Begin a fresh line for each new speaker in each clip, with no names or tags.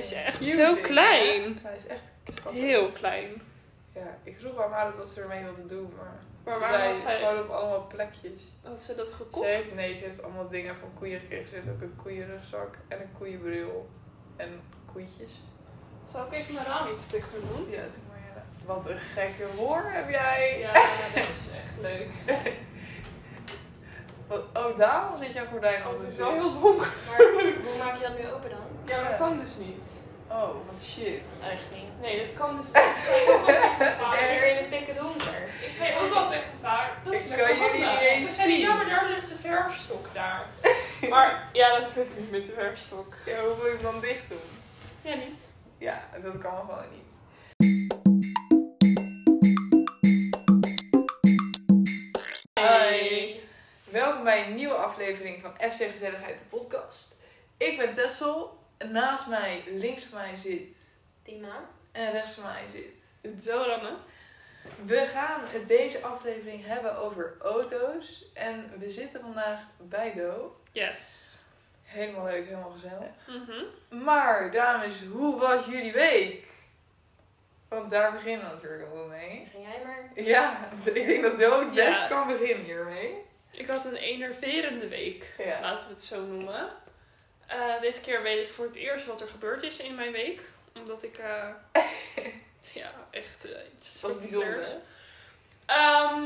is echt
Cute
zo
ding,
klein.
hè? Hij is echt schattig.
Heel klein.
Ja, ik vroeg aan haar wat ze ermee wilde doen, maar...
Maar
ze
waarom
zei,
had zij-
Gewoon op allemaal plekjes.
Had ze dat
Ze
gekocht?
heeft, nee, ze heeft allemaal dingen van koeien gekregen. Ze heeft ook een koeienrugzak en een koeienbril. En koetjes.
Zal ik even mijn raam iets dichter doen?
Ja, doe maar ja. Wat een gekke hoor heb jij.
Ja, dat is echt leuk.
Wat- Oh, daarom zit jouw gordijn
Oh, het
anders
is wel
in.
heel donker.
Maar hoe maak je dat nu open dan?
Ja, dat kan dus niet.
Oh, wat shit.
Echt niet.
Nee, dat kan dus niet. Ik zei ook al tegen mijn
We zitten
vader.
hier in het pikken donker.
Ik zei ook al tegen mijn vader. Dat is
Ik
lekker
kan jullie
handig.
niet eens
Toen zei hij,
zien.
ja, maar daar ligt de verfstok daar. Maar ja, dat vind ik niet met de verfstok.
Ja, hoe wil je hem dan dicht doen?
Ja, niet.
Ja, dat kan gewoon niet. Hi. Welkom bij een nieuwe aflevering van FC Gezelligheid, de podcast. Ik ben Tessel. En Naast mij, links van mij zit
Tima.
en rechts van mij zit.
Zoranne.
We gaan het deze aflevering hebben over auto's. En we zitten vandaag bij Do.
Yes.
Helemaal leuk, helemaal gezellig.
Mhm.
Maar dames, hoe was jullie week? Want daar beginnen we natuurlijk al wel mee.
Ging jij maar.
Ja, ik denk dat Do het
Ja.
best kan beginnen hiermee.
Ik had een enerverende week,
Ja.
laten we het zo noemen. Eh, deze keer weet ik voor het eerst wat er gebeurd is in mijn week. Omdat ik, eh, ja, echt eh, iets
Dat was bijzonder.
bijzonders. Ehm,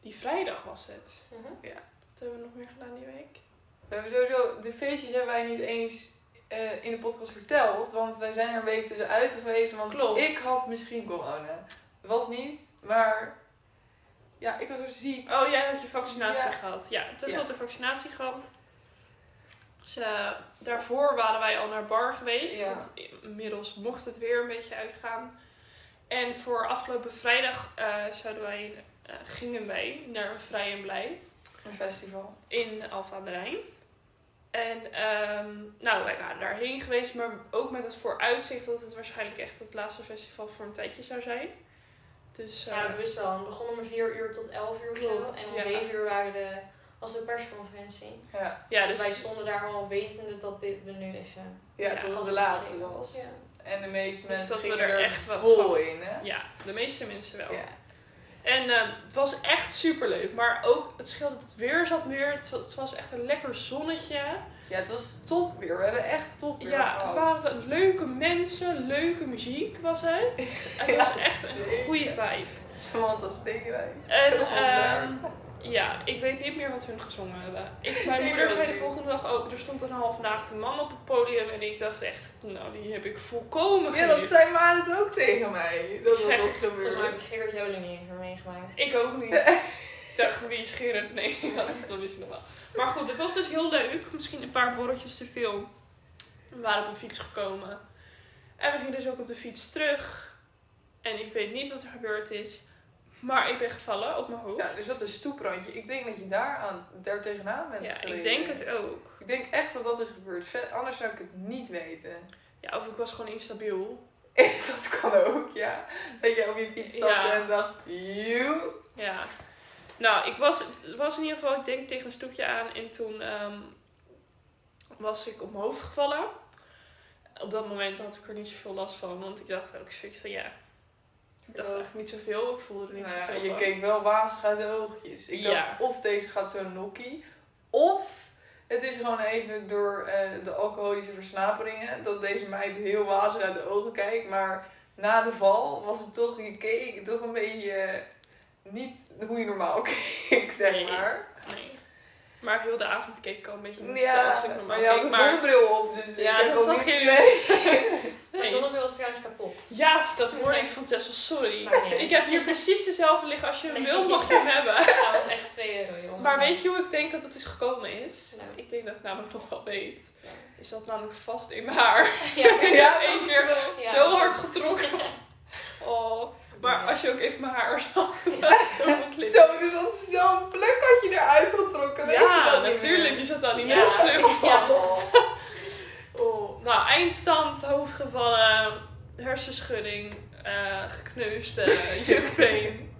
die vrijdag was het.
Mhm.
Wat hebben we nog meer gedaan die week?
We hebben sowieso, de feestjes hebben wij niet eens eh, in de podcast verteld. Want wij zijn er een week tussenuit geweest. Want
Klopt.
ik had misschien corona. Dat was niet, maar ja, ik was zo ziek.
Oh, jij had je vaccinatie
Ja.
gehad. Ja, Tess
Ja.
had de vaccinatie gehad. Dus, eh, daarvoor waren wij al naar bar geweest.
Ja.
Want inmiddels mocht het weer een beetje uitgaan. En voor afgelopen vrijdag eh, zouden wij, eh, gingen wij naar Vrij en Blij
Een festival.
in Alfa aan de Rijn. En ehm, nou, wij waren daarheen geweest, maar ook met het vooruitzicht dat het waarschijnlijk echt het laatste festival voor een tijdje zou zijn. Dus eh,
Ja, dat wist wel. We begonnen om 4 uur tot 11 uur of zo.
Klopt,
En om
ja.
7 uur waren de, was de persconferentie.
Ja,
ja,
dus wij
dus
stonden daar al wetende dat dit er nu is. eh,
ja,
Ja,
dat was
gas-
de laatste was.
Ja.
En de meeste
Dus
mensen
dat we
gingen
er
er
echt wat
vol
van-
in, hè?
ja, de meeste mensen wel.
Ja.
En eh, het was echt super leuk. Maar ook het scheelde dat het weer zat meer. Het was, het was echt een lekker zonnetje.
Ja, het was top weer. We hebben echt top weer
Ja,
gehad.
het waren leuke mensen, leuke muziek was het. Het was echt een goede vibe.
Samantha Stegenwijk.
En
Zoals daar.
ehm, ja, ik weet niet meer wat hun gezongen hebben. Ik, mijn
Ik
moeder
ook
zei de
niet.
volgende dag ook, er stond een halfnaakte man op het podium. En ik dacht echt, nou die heb ik volkomen
Ja, dat
geniet.
zei Maan het ook tegen mij. Dat
Zeg,
dat was gebeurd.
Volgens mij heb ik Gerard Joling niet meer meegemaakt.
Ik ook niet. Ik dacht, wie is Gerrit? Nee, dat wist ik nog wel. Maar goed, het was dus heel leuk. Misschien een paar borreltjes te veel. We waren op de fiets gekomen. En we gingen dus ook op de fiets terug. En ik weet niet wat er gebeurd is. Maar ik ben gevallen op mijn hoofd.
Ja, dus dat is stoeprandje. Ik denk dat je daar, aan, daar tegenaan bent
Ja, ik
gereden.
denk het ook.
Ik denk echt dat dat is gebeurd. Ver- Anders zou ik het niet weten.
Ja, of ik was gewoon instabiel.
dat kan ook, ja. Dat je op je fiets stapte
Ja.
en dacht, you.
Ja. Nou, ik was, het was in ieder geval, ik denk, tegen een stoepje aan. En toen ehm, was ik op mijn hoofd gevallen. Op dat moment had ik er niet zoveel last van. Want ik dacht ook zoiets van, ja... Ik dacht eigenlijk niet zoveel. Ik voelde er niet
Nou ja,
zoveel
je
van.
keek wel wazig uit de oogjes. Ik
Ja.
dacht, of deze gaat zo'n nokkie. Of het is gewoon even door eh, de alcoholische versnaperingen. Dat deze meid heel wazig uit de ogen kijkt. Maar na de val was het toch, je keek toch een beetje eh, niet hoe je normaal keek, zeg
Nee.
maar.
Nee. Maar heel de avond keek ik al een beetje niet zoals
Ja,
ik normaal
maar je had
keek.
een
Maar
zonnebril op. Dus
Ja,
ik heb
dat
ook
zag
niet-
je
Nee.
Maar
Nee.
zonnebril is trouwens kapot.
Ja, dat hoorde ik van Tessel. Sorry.
Maakt niet uit.
Ik heb hier precies dezelfde liggen. Als je hem
Nee.
wil, mag je hem hebben.
Ja, dat was echt 2 euro, joh.
Maar weet je hoe ik denk dat het is gekomen is?
Nou.
Ik denk dat ik namelijk nog wel weet. Is dat namelijk vast in mijn haar.
Ja.
Ik
Ja,
heb één keer
Ja.
zo hard getrokken. Oh. Maar als je ook even mijn haar zag, zo moet liggen.
Zo, dus dat is zo'n pluk had je eruit getrokken. weet je
Ja,
dat niet
natuurlijk.
meer?
Je zat aan die
Ja.
neusvleugel
Ja.
vast. Oh, nou, eindstand, hoofdgevallen, hersenschudding, eh gekneusde, jukbeen.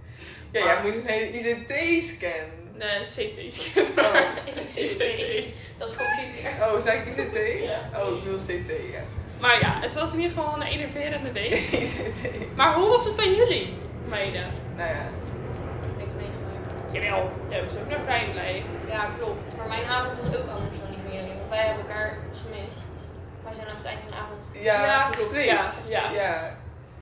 Ja,
Maar-
jij moest een hele ICT-scan.
Nee, CT-scan.
Oh,
CT. Dat is computer.
oh zei ik ICT?
Ja.
Oh, ik wil CT, ja.
Maar ja, het was in ieder geval een enerverende week.
ICT.
Maar hoe was het bij jullie, meiden?
Nou ja.
Niks meegemaakt.
Jawel, jij was ook naar Vrijlei.
Ja, klopt. Maar mijn avond was ook anders dan die van jullie. Want wij hebben elkaar gemist. Wij zijn aan het eind van de avond
Ja,
Ja, klopt,
gestreept.
ja, ja.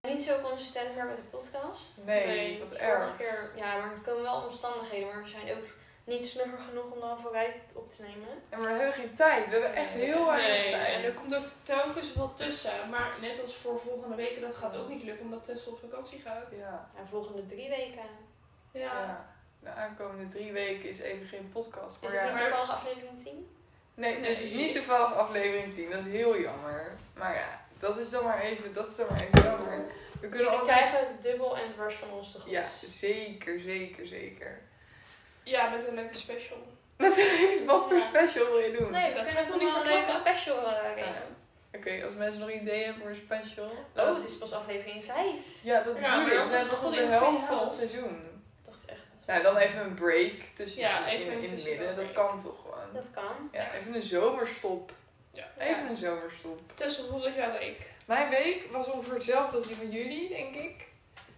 niet zo consistent meer met de podcast.
Nee,
Nee,
wat
Vorige
erg.
keer, ja, maar er komen wel omstandigheden, maar we zijn ook niet snugger genoeg om dan vooruit op te nemen.
En maar we hebben geen tijd. We hebben echt heel weinig
Nee, en
tijd.
er komt ook telkens wat tussen. Maar net als voor volgende weken, dat gaat ook niet lukken omdat Tessel op vakantie gaat.
Ja,
En volgende drie weken.
ja.
Ja.
De aankomende drie weken is even geen podcast.
Is
Maar
het
Oh ja.
niet toevallig aflevering 10?
Nee, dit is
Nee.
niet toevallig aflevering 10. Dat is heel jammer. Maar ja, dat is dan maar even, dat is dan maar even jammer. We kunnen
We
altijd...
krijgen het dubbel en dwars van ons te goed.
Ja, zeker, zeker, zeker.
Ja, met een leuke special.
Wat is- wat voor
Ja.
special wil je doen?
Nee, we
Dat
kunnen
gaat
toch
niet
niet een
verklappen.
leuke special eh,
Nou
regelen.
ja. Oké, als mensen nog ideeën hebben voor een special.
Oh,
laat-
het is pas aflevering 5.
Ja, dat
Ja,
bedoel
maar
ik.
als
We zijn
het
nog op
goed
de
in de
helft
veld
van het
valt.
seizoen.
Ik dacht echt dat
Nou, dan even een break tussen
Ja,
in-
even
in, in het
tussendoor
midden. Dat
break.
kan toch gewoon.
dat kan.
Ja, even een zomerstop.
Ja.
Even een zomerstop.
Tessel, hoe was jouw week?
Mijn week was ongeveer hetzelfde als die van jullie, denk ik.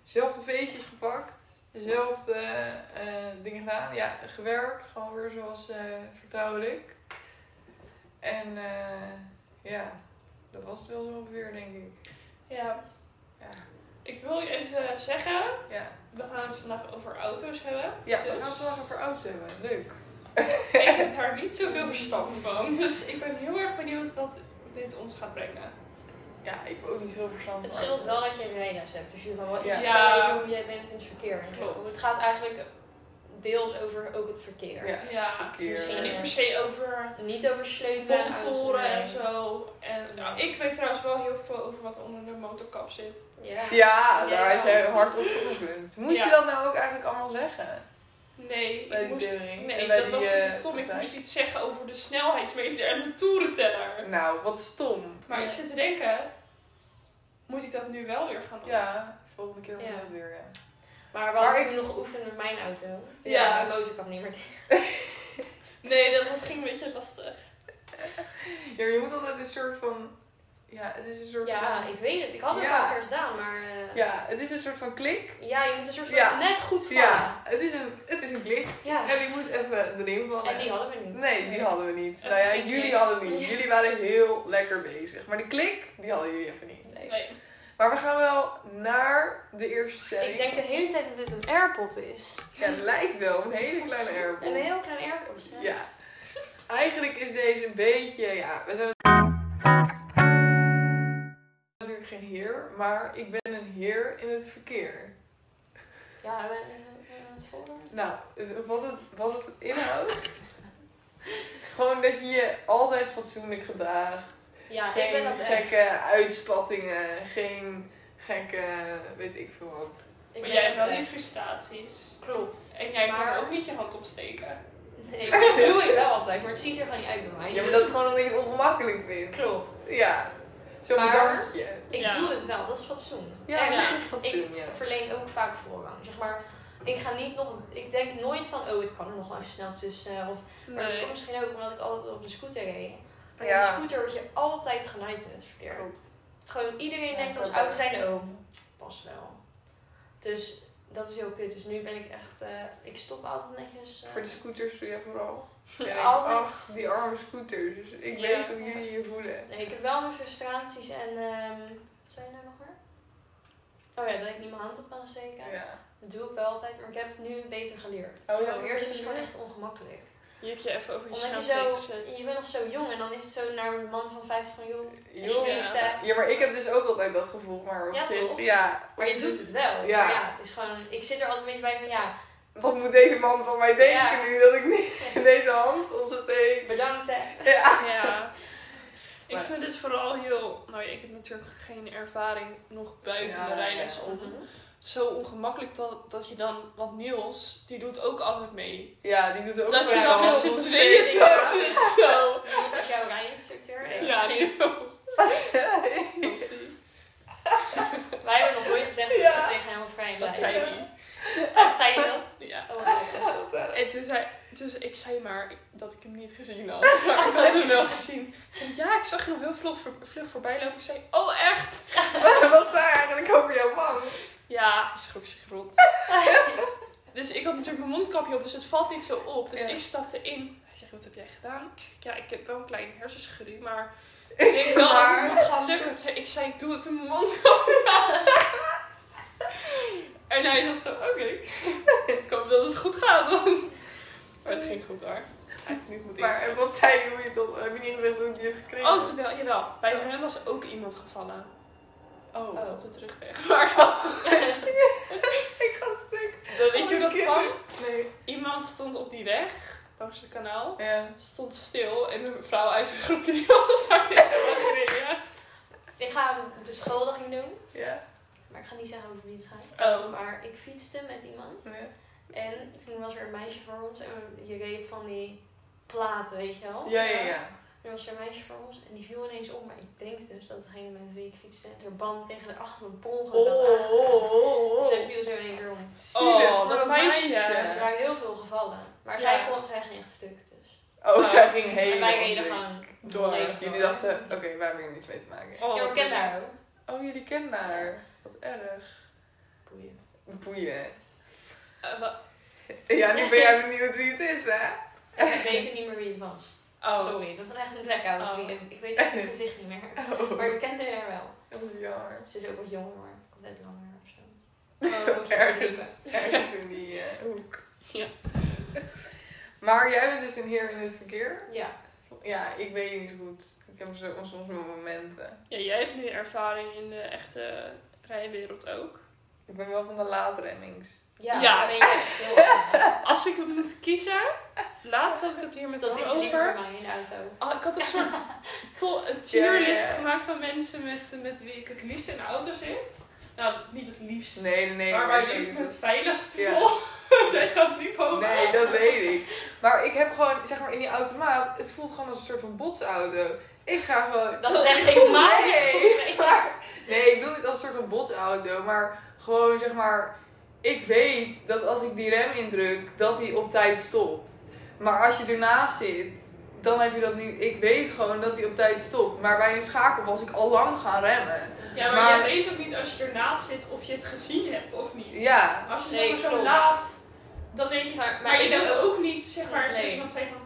Zelfde feestjes gepakt. Dezelfde eh, eh, dingen gedaan. Ja, gewerkt. Gewoon weer zoals eh, vertrouwelijk. En eh, ja, dat was het wel zo ongeveer, denk ik.
Ja,
Ja,
ik wil je even zeggen,
ja.
we gaan het vandaag over auto's hebben.
ja we
Dus-
gaan het vandaag over ouds hebben. Leuk.
ik heb daar niet zoveel verstand van, dus ik ben heel erg benieuwd wat dit ons gaat brengen.
Ja, ik heb ook niet veel verstand
Het
van
scheelt
auto's.
wel dat je een rijles hebt, dus je kan wel
Ja.
iets
Ja.
vertellen over hoe jij bent in het verkeer. en zo.
Klopt.
Want Het gaat eigenlijk deels over ook het verkeer.
Ja. eh,
Ja,
verkeer.
en niet per se over
Niet over sleutelen.
bontoren en
auto's, nee.
zo. En nou, ik weet trouwens wel heel veel over wat onder de motorkap zit.
Ja.
Ja, daar
Ja.
had jij hard op geoefend. Moest
Ja.
je dat nou ook eigenlijk allemaal zeggen?
Nee,
Bij
ik
die
moest...
tering?
Nee,
En bij
dat
die,
was dus
eh,
het stom. Ik
praktijk?
moest iets zeggen over de snelheidsmeter en de toerenteller.
Nou, wat stom.
Maar
Ja.
ik zit te denken, moet ik dat nu wel weer gaan doen?
Ja, volgende keer doen we
Ja.
dat weer, ja.
Maar we
Maar
hadden
ik-
toen nog geoefend met mijn auto.
Ja.
De motor kwam niet meer dicht.
Nee, dat was, ging een beetje lastig.
Ja, maar je moet altijd een soort van... Ja, het is een soort
Ja,
van...
ik weet het. Ik had het
Ja.
al een keer gedaan, maar... eh, ja.
Ja, het is een soort van klik.
je moet een soort van
Ja.
net goed vallen. Ja.
Ja, het is een, het is een klik. En die moet even erin vallen.
En die hadden we niet.
Nee, die hadden we niet.
Even
Nou ja,
geen
jullie
klik.
hadden we niet. Jullie waren heel lekker bezig. Maar de klik, die hadden jullie even niet.
Nee.
Nee.
Maar we gaan wel naar de eerste stelling.
Ik denk de hele tijd dat dit een airpod is.
Ja, het lijkt wel een hele kleine airpod.
Een heel klein airpod. Ja.
Ja. Eigenlijk is deze een beetje, ja, we zijn natuurlijk geen heer, maar ik ben een heer in het verkeer.
Ja, we zijn aan het schooldoen.
Nou, wat het, wat het inhoudt, gewoon dat je je altijd fatsoenlijk gedraagt.
Ja,
geen
ik ben dat echt.
gekke uitspattingen, geen gekke, weet ik veel wat.
Ik
Maar
ben
jij
dat
hebt wel
echt.
die frustraties.
Klopt.
En jij
Maar-
kan ook niet je hand opsteken.
Nee, dat doe ik wel altijd, maar het ziet er gewoon niet uit bij mij.
Ja, maar dat is gewoon omdat ik het ongemakkelijk vind.
Klopt.
Ja, zo'n
Maar-
bedankje.
Ik
Ja.
doe het wel, dat is fatsoen.
Ja,
En
dat is fatsoen,
ik
ja.
verleen ook vaak voorrang. Zeg maar, ik ga niet nog, ik denk nooit van, oh, ik kan er nog wel even snel tussen. Of, maar dat komt misschien ook omdat ik altijd op de scooter reed. Maar op
Ja.
de scooter word je altijd genaaid in het verkeer.
Klopt.
Gewoon iedereen
Ja,
denkt
dat
als
wel.
oud zijn, oh, pas wel. Dus dat is heel kut. Dus nu ben ik echt, eh, ik stop altijd netjes. eh,
Voor de scooters doe je vooral. Ja, ik
Altijd.
af, die arme scooters. Dus ik
Ja.
weet hoe jullie je voelen.
Nee, ik heb wel mijn frustraties en. ehm wat zei je nou nog maar? Oh ja, dat ik niet mijn hand op kan
Ja.
steken. Dat doe ik wel altijd, maar ik heb het nu beter geleerd.
Oh,
Want
dat
eerst was
is
het dus gewoon
leuk.
echt ongemakkelijk.
Je hebt je even over je
Omdat je
snel
zo.
tegenzet.
Je bent nog zo jong en dan is het zo naar een man van 50 van joh.
Ja.
Joh.
Alsjeblieft, hè.
Ja, maar ik heb dus ook altijd dat gevoel. Maar op
Ja,
zich-
toch?
ja.
Maar je doet het wel.
Ja.
Maar ja, het is gewoon. Ik zit er altijd een beetje bij van ja,
Wat moet deze man van mij denken
Ja.
nu dat ik niet deze hand op zijn steek?
bedankt hè.
Ja.
Ja. Ik
Maar-
vind dit vooral heel... Nou ja, ik heb natuurlijk geen ervaring nog buiten
Ja,
de rijles
ja.
om. Zo ongemakkelijk dat, dat je dan... Want Niels, die doet ook altijd mee.
Ja, die doet ook
dat je
wel
dan met
hand op
z'n
zijn
tweeën
steek.
zo zit. Zo.
Dit is jouw rijinstructeur.
Ja.
Ja, Niels. Nancy.
Wij hebben nog nooit gezegd dat
Ja.
we tegen hem vrij
Dat
zijn.
zei hij.
Dat zei je dat?
Ja.
Oh, wat leuk.
Ja, dat, eh,
En toen zei dus zei maar dat ik hem niet gezien had. Maar ik had hem wel gezien. Ik zei, ja, ik zag hem heel vlug, voor- vlug voorbij lopen. Ik zei, oh echt?
Wat zei eigenlijk over jouw man?
Ja, hij schrok zich rot. Dus ik had natuurlijk mijn mondkapje op, dus het valt niet zo op. Dus
Ja.
ik stapte in. Hij zegt, wat heb jij gedaan? Ik zeg, ja, ik heb wel een klein hersenschudding, maar ik denk wel dat
Maar-
het moet gaan lukken. Toen zei- Ik zei, doe het in mijn mondkapje aan." En hij zat zo, oké. Ik hoop dat het goed gaat, want... Maar het ging goed hoor. Hij heeft niet moeten
Maar eh, wat zei je hoe je het op? Heb je niet gezegd hoe je het gekregen
Oh,
had?
terwijl, jawel. Bij hem was ook iemand gevallen.
Oh.
Oh, op de terugweg. Maar
Ik was stuk.
dan weet je hoe dat kwam?
Nee.
Iemand stond op die weg, langs het kanaal.
Ja.
Stond stil en een vrouw uit zijn groepje die was daar tegen hem gereden.
Ik ga een beschuldiging doen.
Ja.
Maar ik ga niet zeggen over wie het gaat.
Oh.
Maar ik fietste met iemand.
Ja.
En toen was er een meisje voor ons. En je reed van die platen, weet je wel.
Ja, ja, ja.
Er was er een meisje voor ons. En die viel ineens om. Maar ik denk dus dat degene met wie ik fietste... haar band tegen de achterpolgen
Oh, oh, oh, oh.
Dus Zij viel zo in één keer om.
Zielig
Oh,
voor
dat
dat
meisje.
meisje.
Dus er waren heel veel gevallen. Maar
Ja.
zij, kon, zij ging echt stuk. Dus.
Oh,
Oh.
zij ging
en wij
helemaal
reden
stuk.
gewoon
Door.
volledig
Jullie
door.
dachten, oké, wij hebben hier niets mee te maken.
Oh,
Ja, maar
wat
ik ken
leuk.
haar.
Oh, jullie kennen haar. Wat erg.
Boeien.
Boeien.
Eh, wa-
Ja, nu ben jij benieuwd wie het is, hè?
En we weten niet meer wie het was.
Oh.
Sorry, dat was echt een blackout.
Oh.
Ik weet echt het gezicht niet meer.
Oh,
Maar ik kende haar wel.
dat is Oh, jammer.
Ze is ook wat jonger, maar komt uit langer of zo.
Oh.
Ergens, ergens in die eh, hoek.
Ja.
Maar jij bent dus een heer in het verkeer?
Ja,
Ja, ik weet niet zo goed. Ik heb zo, soms mijn momenten.
Ja, jij hebt nu ervaring in de echte rijwereld ook.
Ik ben wel van de laatremmings.
ja,
Ja.
ja. ben je heel erg.
Als ik het moet kiezen, laatst had ik het hier met
Dat
Ron
zit je liever bij
over.
mij in de auto.
Ah, ik had een soort to- een tierlist
Ja, ja, ja.
gemaakt van mensen met, met wie ik het liefst in de auto zit. Nou, niet het liefst.
Nee, nee, nee.
maar waar
zo-
je het het veiligst
Ja.
voelt. Daar staat niet boven.
Nee, dat weet ik. Maar ik heb gewoon, zeg maar, in die automaat, het voelt gewoon als een soort van botsauto. Ik ga gewoon...
Dat is echt geen
Nee, maar, nee, ik bedoel niet als een soort van botsauto, maar gewoon, zeg maar, ik weet dat als ik die rem indruk, dat die op tijd stopt. Maar als je ernaast zit, dan heb je dat niet... Ik weet gewoon dat die op tijd stopt. Maar bij een schakel was ik al lang gaan remmen.
Ja, maar,
Maar-
jij weet ook niet als je ernaast zit of je het gezien hebt of niet.
Ja.
Als je
Nee,
zeg maar zo
klopt.
laat, dan denk je...
Maar-
Maar,
maar
je
ik heb
wilt
ook-
ook niet, zeg maar, als
Nee.
iemand zegt van...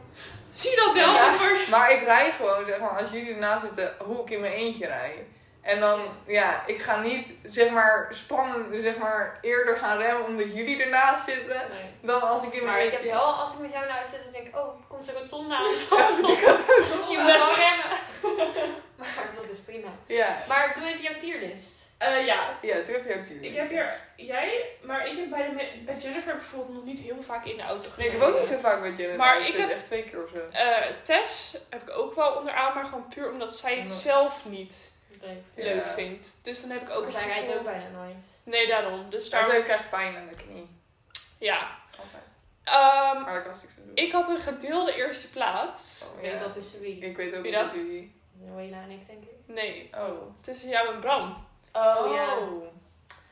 Zie dat wel,
Ja.
zeg maar.
Maar ik rij gewoon, zeg maar, als jullie ernaast zitten, hoe ik in mijn eentje rij. En dan, ja, ik ga niet, zeg maar, spannend, zeg maar, eerder gaan remmen omdat jullie ernaast zitten,
Nee.
dan als ik in
Maar
mijn
ik heb wel, als ik met jou naar zit, dan denk ik, oh, komt er een ton aan. Je moet
Eh,
wel remmen. Maar dat is prima.
Ja,
Maar doe even jouw tierlist.
eh, ja,
ja, toen heb je ook jullie.
ik heb hier... Jij, maar ik heb bij, de, bij Jennifer bijvoorbeeld nog niet heel vaak in de auto gezeten.
Nee, ik heb ook niet zo vaak met je.
Maar
Maar ik
ik
heb...
heb-
Echt twee keer of zo.
Eh, Tess heb ik ook wel onderaan, maar gewoon puur omdat zij het
Nee.
zelf niet
Nee.
Ja.
leuk vindt. Dus dan heb ik ook
Maar
het
zij rijdt
gevoel...
ook bijna nooit.
Nee, daarom. Dus
Daarom
daar...
krijg ik pijn aan de knie.
Ja.
Altijd.
Ehm,
Maar dat kan ik zo doen.
ik had een gedeelde eerste plaats.
Oh,
Ik
ja.
weet wel tussen wie.
Ik weet ook
Wie
niet
dat?
of jullie.
Noela en ik, denk ik.
Nee,
Oh.
tussen jou en Bram.
Oh, ja.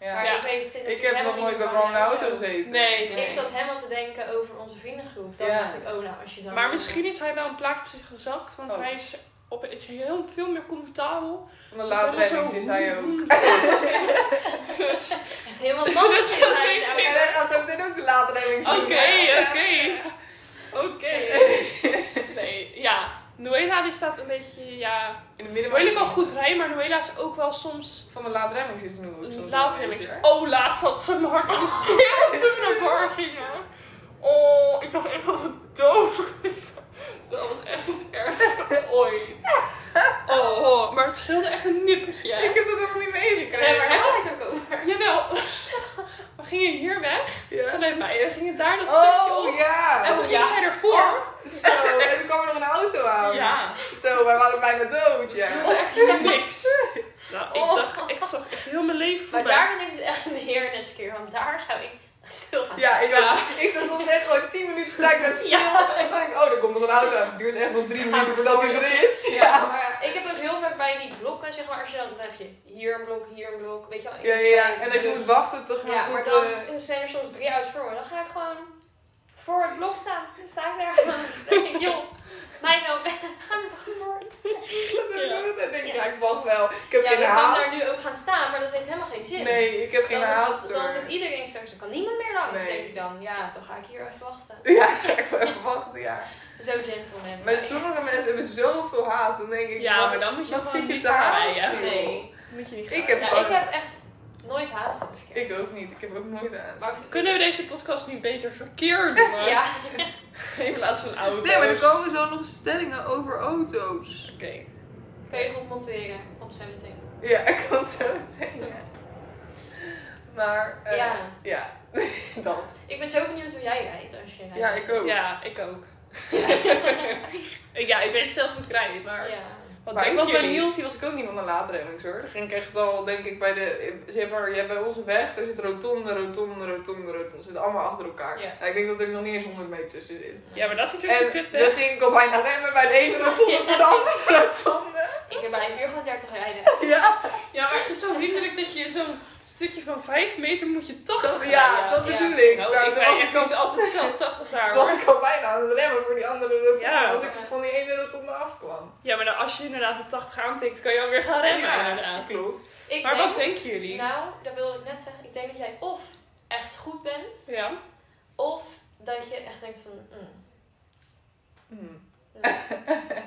Ja.
Maar
Ja.
ik weet het zit
Ik
natuurlijk
heb nog
helemaal
nooit
niet
bij
van
Bram in de auto
auto.
gezeten.
Nee,
Ik zat helemaal te denken over onze vriendengroep. Dan
Ja.
dacht ik, oh nou, als je dan...
Maar misschien is hij wel een plaatje gezakt, want
Oh.
hij is, op, is heel, veel meer comfortabel.
Van de
Zit helemaal
laatremmings
zo-
is hij ook.
Dus-
Echt helemaal bang zit hij in de auto.
En hij gaat zo meteen ook de laatremmings
Oké,
zien. Ja.
oké. Oké. Nee, ja. Noela die staat een beetje, ja...
In de middenbouw.
Noela kan goed rijden, maar Noela is ook wel soms...
Van de laatremmings is nu ook soms wel
Laat
een
hem niks.
beetje, hè?
Oh, laatst had ze mijn hart gekeerd toen we naar bar gingen. Oh, ik dacht echt dat we dood gingen. Dat was echt het ergste ooit. Oh, oh, maar het scheelde echt een nippertje.
Ik heb dat helemaal niet
Nee, maar
meegekregen. Oh,
daar had ik het ook over.
Jawel. We gingen hier weg
Ja.
vanuit mij. We gingen daar dat stukje op.
Oh ja. Oh.
En toen
Oh,
ging
ja.
zij ervoor.
Zo, en toen kwam er nog een auto aan.
Ja,
Zo, wij waren bijna dood.
dat
Ja.
scheelde echt niks. Nou, ik
Oh.
dacht, ik zag echt heel mijn leven
Maar
voorbij.
daar ben ik dus echt een heer net verkeer. Want daar zou ik stil gaan
Ja, ik, dacht, ik zat soms echt gewoon 10 minuten sta ik daar stil.
Ja.
En dan denk ik, oh, er komt nog een auto aan. Het duurt echt nog 3 minuten voordat hij er is. Ja, maar...
Ik heb ook heel vaak bij die blokken, zeg maar, als je dan, dan heb je hier een blok, hier een blok, weet je wel.
Ja, ja, ja. En dat je moet wachten toch
Dus- Ja, maar
tot...
dan
eh,
zijn er soms drie auto's voor me. Dan ga ik gewoon voor het blok staan. Dan sta ik daar. Dan denk ik, joh, mij nou weg. Ga maar gewoon door.
Ja.
En denk ik, ja, ik mag wel. Ik heb
Ja,
geen
je kan
haast.
daar nu ook gaan staan, maar dat heeft helemaal geen zin.
Nee, ik heb geen
Dan, is-
haast.
dan
hoor.
zit iedereen straks, dan kan niemand meer langs,
Nee.
denk ik dan. Ja, dan ga ik hier even wachten.
Ja, ik ga wel even wachten, ja.
Zo gentleman.
Maar sommige mensen hebben zoveel haast, dan denk ik,
Ja,
maar
maar dan moet je
wat
gewoon
zit je
niet
daar
gaan
aan
rijden.
te doen?
Nee.
Moet je niet
Ik
gaan.
heb
Ja, ik heb echt nooit haast in het verkeer.
ik ook niet. Ik heb ook nooit haast.
Maar
Kunnen we deze podcast niet beter verkeer doen?
Ja.
In plaats van auto's.
Nee, maar er komen zo nog stellingen over auto's.
Oké.
Kun je goed monteren op 17.
Ja, ik kan het zo meteen. Maar, eh,
Ja.
ja, dat.
Ik ben zo benieuwd hoe jij rijdt als je rijdt.
Ja, ik ook.
Ja, ik ook. ja, ik weet zelf hoe ik rijd, maar...
Ja.
Wat
maar ik
denk
was bij
jullie?
Niels, die was ik ook niet van de laadremmings hoor. Dan ging ik echt al, denk ik, bij de... Zeg maar, je hebt bij onze weg, er zit rotonde, rotonde, rotonde, rotonde. Ze zitten allemaal achter elkaar.
Ja.
Nou, ik denk dat er nog niet eens 100 meter tussen zit.
Ja, maar dat vind ik ook zo
En
kut
dan
weg.
ging ik al bijna remmen bij de ene rotonde voor de andere rotonde.
Ik blijf hier gewoon 30 rijden.
Ja,
Ja, maar het is zo hinderlijk dat je in zo'n stukje van 5 meter moet je 80
dat, ja,
rijden.
dat
ja.
bedoel ik.
Nou,
Nou,
ik
dan
rijd
was
echt
ik al-
niet altijd snel 80 daar.
was
hoor.
ik al bijna aan het remmen voor die andere rotonde.
Ja.
Als ik van die ene rotonde afkwam.
Ja, maar dan als je inderdaad de 80 aantikt, kan je alweer gaan remmen
Ja,
inderdaad.
Klopt.
Ik
Maar
denk,
wat denken jullie?
Nou, dat wilde ik net zeggen. Ik denk dat jij of echt goed bent,
Ja.
of dat je echt denkt van... mm,
Hm.
nee,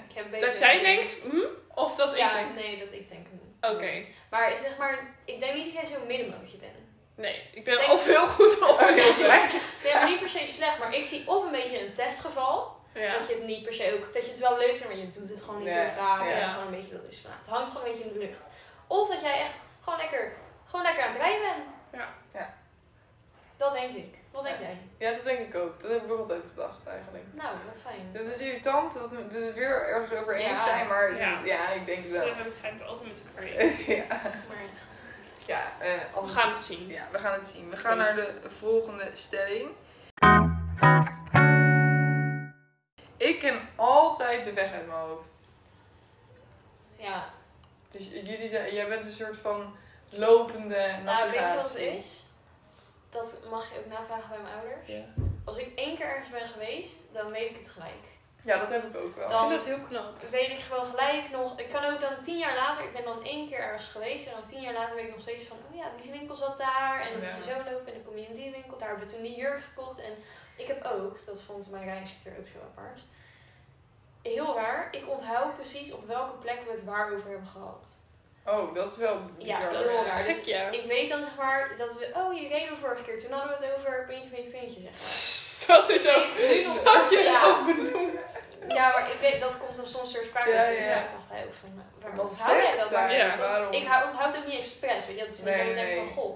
ik heb beter
Dat jij
gezien.
denkt, hm? Of dat ik
Ja,
denk.
nee, dat ik denk. mm.
Oké.
Maar zeg maar, ik denk niet dat jij zo'n middenmootje bent.
Nee, ik ben
Denk-
of heel goed of
Oké,
heel slecht.
slecht.
Het is helemaal niet per se slecht, maar ik zie of een beetje een testgeval.
Ja.
Dat je het niet per se ook... Dat je het wel leuk vindt, maar je doet het gewoon niet
Ja,
heel graag. En
ja.
gewoon een beetje, dat is van, nou, het hangt gewoon een beetje in de lucht. Of dat jij echt gewoon lekker, gewoon lekker aan het rijden bent.
Ja.
Ja.
Dat denk ik. Wat denk
Ja.
jij?
Ja, dat denk ik ook. Dat heb ik ook altijd gedacht eigenlijk.
Nou, wat fijn.
Het is irritant dat we dat we het weer ergens over eens
Ja.
zijn, maar
Ja.
ja. ik denk het
Ze
wel.
hebben het fijn altijd met elkaar eens.
ja,
Maar
ja, eh, als
Oh, We gaan het zien.
ja, we gaan het zien. We gaan naar de volgende stelling. Ik ken altijd de weg uit mijn hoofd.
ja,
Dus jullie zijn, jij bent een soort van lopende
nou, weet je wat het
navigatie.
is? Dat mag je ook navragen bij mijn ouders.
Ja.
Als ik één keer ergens ben geweest, dan weet ik het gelijk.
ja, dat heb ik ook wel.
Ik
Dan-
vind dat heel knap.
Weet ik gewoon gelijk nog. Ik kan ook dan tien jaar later, ik ben dan één keer ergens geweest. En dan tien jaar later weet ik nog steeds van, oh ja, die winkel zat daar. En dan
Ja.
moet je zo lopen en dan kom je in die winkel. Daar hebben we toen die jurk gekocht. En ik heb ook, dat vond mijn rijinstructeur ook zo apart. Heel raar, ik onthoud precies op welke plek we het waar over hebben gehad.
Oh, dat is wel bizar.
Ja,
Dat is
heel raar.
gek, ja. dus
Ik weet dan zeg maar dat we. Oh, je reden vorige keer. Toen hadden we het over puntje, puntje, puntje. Zeg maar.
Dat is
Ik
ook...
weet nu nog
Dat je het
ja.
ook benoemt.
ja, maar ik weet, dat komt dan soms ter sprake.
Ja,
natuurlijk.
ja.
Ja, ik dacht hij ook van. nou, Waarom
Wat
onthoud jij
zegt
dat
zij?
maar?
Ja,
Dat is-
waarom?
Dus Ik hou- onthoud ook niet expres. Weet je, dat is
Nee,
nee, ik
nee.
denk van goh.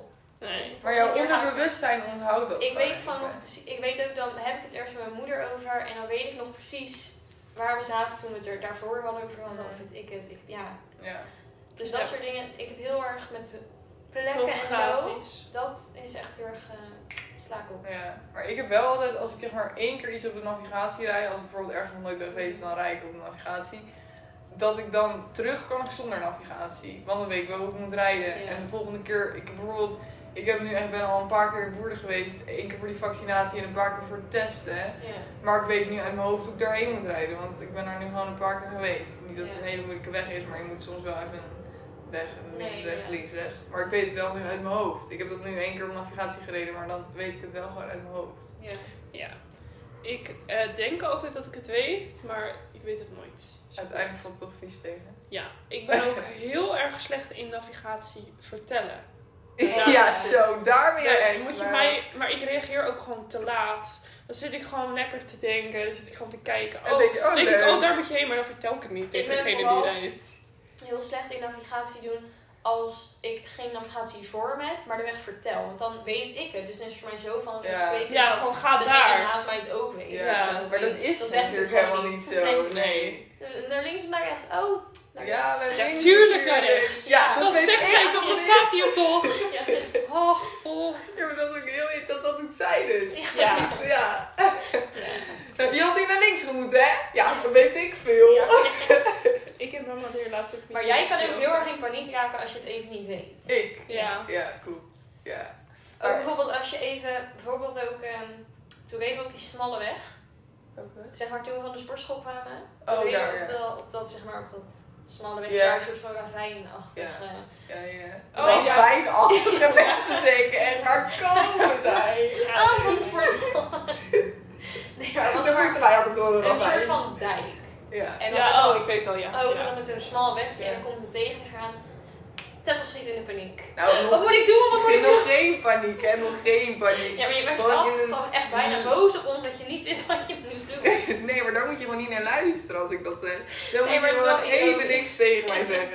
Nee.
Maar jouw
volgende keer ga ik-
onderbewustzijn onthoudt dat.
Ik
gewoon
weet
even.
gewoon, precies- ik weet ook, dan heb ik het ergens met mijn moeder over en dan weet ik nog precies waar we zaten toen we het er daarvoor wel over hadden. Of weet ik het, ik, ja.
Ja.
Dus dat
Ja.
soort dingen, ik heb heel erg met plekken en zo.
Fotografisch.
Dat is echt heel erg eh sla ik op.
Ja, maar ik heb wel altijd, als ik zeg maar één keer iets op de navigatie rij, als ik bijvoorbeeld ergens nog nooit ben geweest, dan rij ik op de navigatie, dat ik dan terug kan ik zonder navigatie. Want dan weet ik wel hoe ik moet rijden.
Ja.
En de volgende keer, ik heb bijvoorbeeld, ik heb nu, ik ben al een paar keer in Woerden geweest, één keer voor die vaccinatie en een paar keer voor het testen.
Ja.
Maar ik weet nu uit mijn hoofd hoe ik daarheen moet rijden, want ik ben daar nu gewoon een paar keer geweest. Niet dat het
Ja.
een hele moeilijke weg is, maar je moet soms wel even een weg, een
Nee,
links, rechts,
ja.
links, rechts. Maar ik weet het wel nu uit mijn hoofd. Ik heb dat nu één keer op navigatie gereden, maar dan weet ik het wel gewoon uit mijn hoofd.
Ja.
Ja. Ik eh, denk altijd dat ik het weet, maar ik weet het nooit.
Uiteindelijk valt het toch vies tegen.
Ja, ik ben ook heel erg slecht in navigatie vertellen.
Ja,
Ja,
zo, daar ben je
Ja,
echt
moet je
wel.
mij, maar ik reageer ook gewoon te laat. Dan zit ik gewoon lekker te denken, dan zit ik gewoon te kijken.
En
Oh,
denk je, oh,
denk
leuk.
ik, oh, daar moet je heen, maar dan vertel ik het niet tegen
ben
degene die
vooral-
rijdt.
Heel slecht in navigatie doen als ik geen navigatie voor me heb, maar de weg vertel. Want dan weet ik het. Dus dan is het voor mij zo van
Ja.
spreken
Ja,
dat
gewoon ga
degene
daar.
Dus naast mij het ook Dus weet.
Ah, Ja,
Of zo.
maar dat is
Dan zeg ik
natuurlijk
het gewoon
helemaal niet zo. Nee.
Eh, Naar links en naar rechts. Oh, naar
Ja,
rechts.
Ja,
wij-
tuurlijk naar rechts.
Ja,
Dat
weet
zegt
ik
zij
echt
toch, dan
niet.
staat hij er toch.
Ja.
Och, oh.
Ja, maar dat is ook heel iets dat dat doet zij dus.
Ja.
Ja. Nou, die had hier naar links gemoeten, hè? Ja, dat weet ik veel. Oh,
Ja.
Ik heb mama de laatst ook niet
Maar jij kan
gezien.
ook heel erg in paniek raken als je het even niet weet.
Ik?
Ja.
Ja, klopt. Ja.
Ook bijvoorbeeld als je even, bijvoorbeeld ook ehm, Toen reden we op die smalle weg.
Oké.
Zeg maar toen we van de sportschool kwamen. Toen
Oh,
reden we
daar,
op,
ja.
dat, op dat, zeg maar, op dat smalle weg.
Ja.
Daar een soort van ravijnachtig. eh,
Ja, ja.
Oh,
Wat
ja.
fijnachtige mensen denken. En waar komen zij?
Ja,
Ah, van de sportschool. nee, maar het was
Dan
maar
moeten wij altijd door een
een soort
ravijn.
van dijk.
Ja.
En dan
Ja,
zo-
oh, ik weet al, ja.
Oh, en
ja.
dan met zo'n smal wegje
Ja.
en dan komt het tegengaan. Tessel schiet in de paniek.
Nou, nog,
Wat moet ik doen? Wat moet ik doen?
nog geen paniek, hè? Nog geen paniek.
Ja, maar je werd
Gewoon
wel
in een-
gewoon echt bijna boos op ons dat je niet wist wat je moest doen.
Nee, maar daar moet je gewoon niet naar luisteren als ik dat zeg. Dan
Nee,
moet
maar
je
het is
gewoon
wel
even
ironisch.
niks tegen mij zeggen.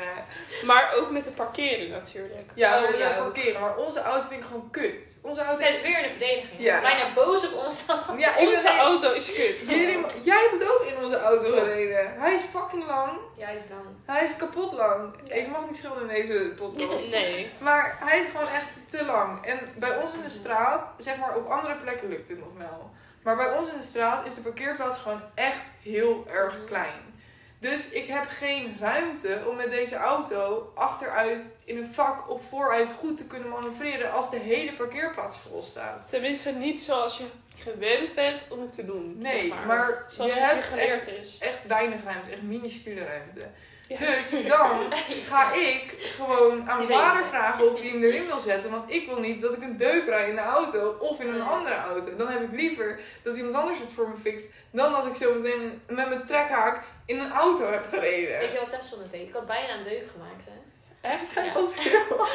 Maar ook met het parkeren natuurlijk.
Ja,
Oh,
we willen
ja.
parkeren, maar onze auto vind ik gewoon kut. Onze auto
Het is weer in de verdediging.
Ja.
Bijna boos op ons dan.
Ja, ik
Onze
ben-
auto is kut. Oh.
Jullie, jij hebt ook in onze auto
Klopt.
gereden. Hij is fucking lang.
Ja, hij is lang.
Hij is kapot lang.
Ja.
Ik mag niet schilderen in deze podcast.
Nee.
Maar hij is gewoon echt te lang. En bij ons in de straat, zeg maar op andere plekken lukt het nog wel. Maar bij ons in de straat is de parkeerplaats gewoon echt heel
Mhm.
erg klein. Dus ik heb geen ruimte om met deze auto achteruit in een vak of vooruit goed te kunnen manoeuvreren als de hele parkeerplaats vol staat.
Tenminste, niet zoals je gewend bent om het te doen.
Nee,
zeg
maar
zoals
je
het je
hebt
geleerd is.
Dus Echt weinig ruimte, echt minuscule ruimte.
Ja.
Dus dan ga ik gewoon aan
Die
vader
weet-
vragen of hij hem erin wil zetten. Want ik wil niet dat ik een deuk rijd in de auto of in een andere auto. Dan heb ik liever dat iemand anders het voor me fixt. Dan dat ik zo meteen met mijn trekhaak in een auto heb gereden.
Weet je wat Tessel net deed? Ik had bijna een deuk gemaakt, hè.
Echt?
Ja.
Dat is heel-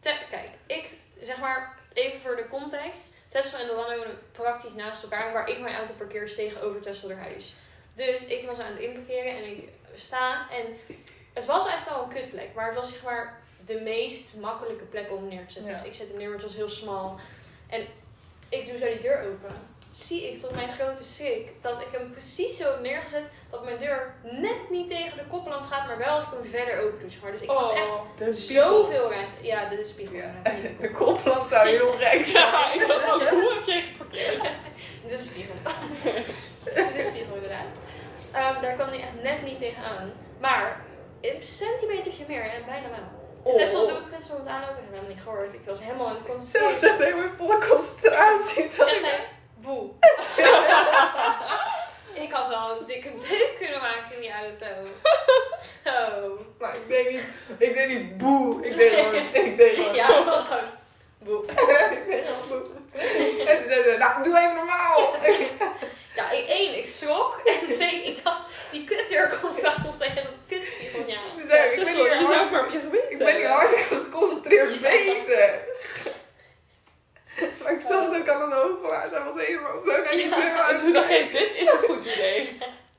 Te- kijk, ik zeg maar even voor de context. Tesla en Lolan wonen praktisch naast elkaar, waar ik mijn auto parkeer is tegenover Tesla haar huis. Dus ik was aan het inparkeren en ik sta. En het was echt al een kutplek, maar het was zeg maar de meest makkelijke plek om neer te zetten.
Ja.
Dus ik zet hem neer, maar het was heel smal. En ik doe zo die deur open. Zie ik tot mijn grote schrik dat ik hem precies zo heb neergezet dat mijn deur net niet tegen de koplamp gaat, maar wel als ik hem verder open doe. Zeg maar. Dus ik had echt
Oh.
De spiegel.
Dus Zoveel ruimte. Ja, dit is spiegel.
Ja.
inderdaad, niet
De
de kop.
koplamp zou heel gek zijn.
Ja, ik dacht ook, hoe heb jij geparkeerd?
De spiegel. de spiegel, inderdaad. Ehm, daar kwam hij echt net niet tegenaan. Maar een centimetertje meer en bijna wel.
Oh.
Tessel doet Tessel moet aanlopen. Ik heb hem niet gehoord. Ik was helemaal in het
Zo
concentreren.
zegt helemaal in volle concentratie. zat
Zeg
ik-
zij, boe. ik had wel een dikke deuk kunnen maken in die auto. Zo.
Maar ik deed niet, ik deed niet boe. Ik deed gewoon, ik deed gewoon.
Ja, het was gewoon boe.
Ik deed gewoon boe. En toen zei ze, nou doe even normaal.
Ja, ik- één, ik schrok. En twee, ik dacht, die kutdeur komt s'avonds tegen dat kutspiegel. Ja.
Ze zei, ik ben
Tessel,
hier
je
hard-
zou maar op je gewend
Ik ben hier hartstikke geconcentreerd bezig. Maar ik zag het ook aan een hoofd van haar. Zij was helemaal zo naar die deur aan
En
het
toen dacht ik, dit is een goed idee.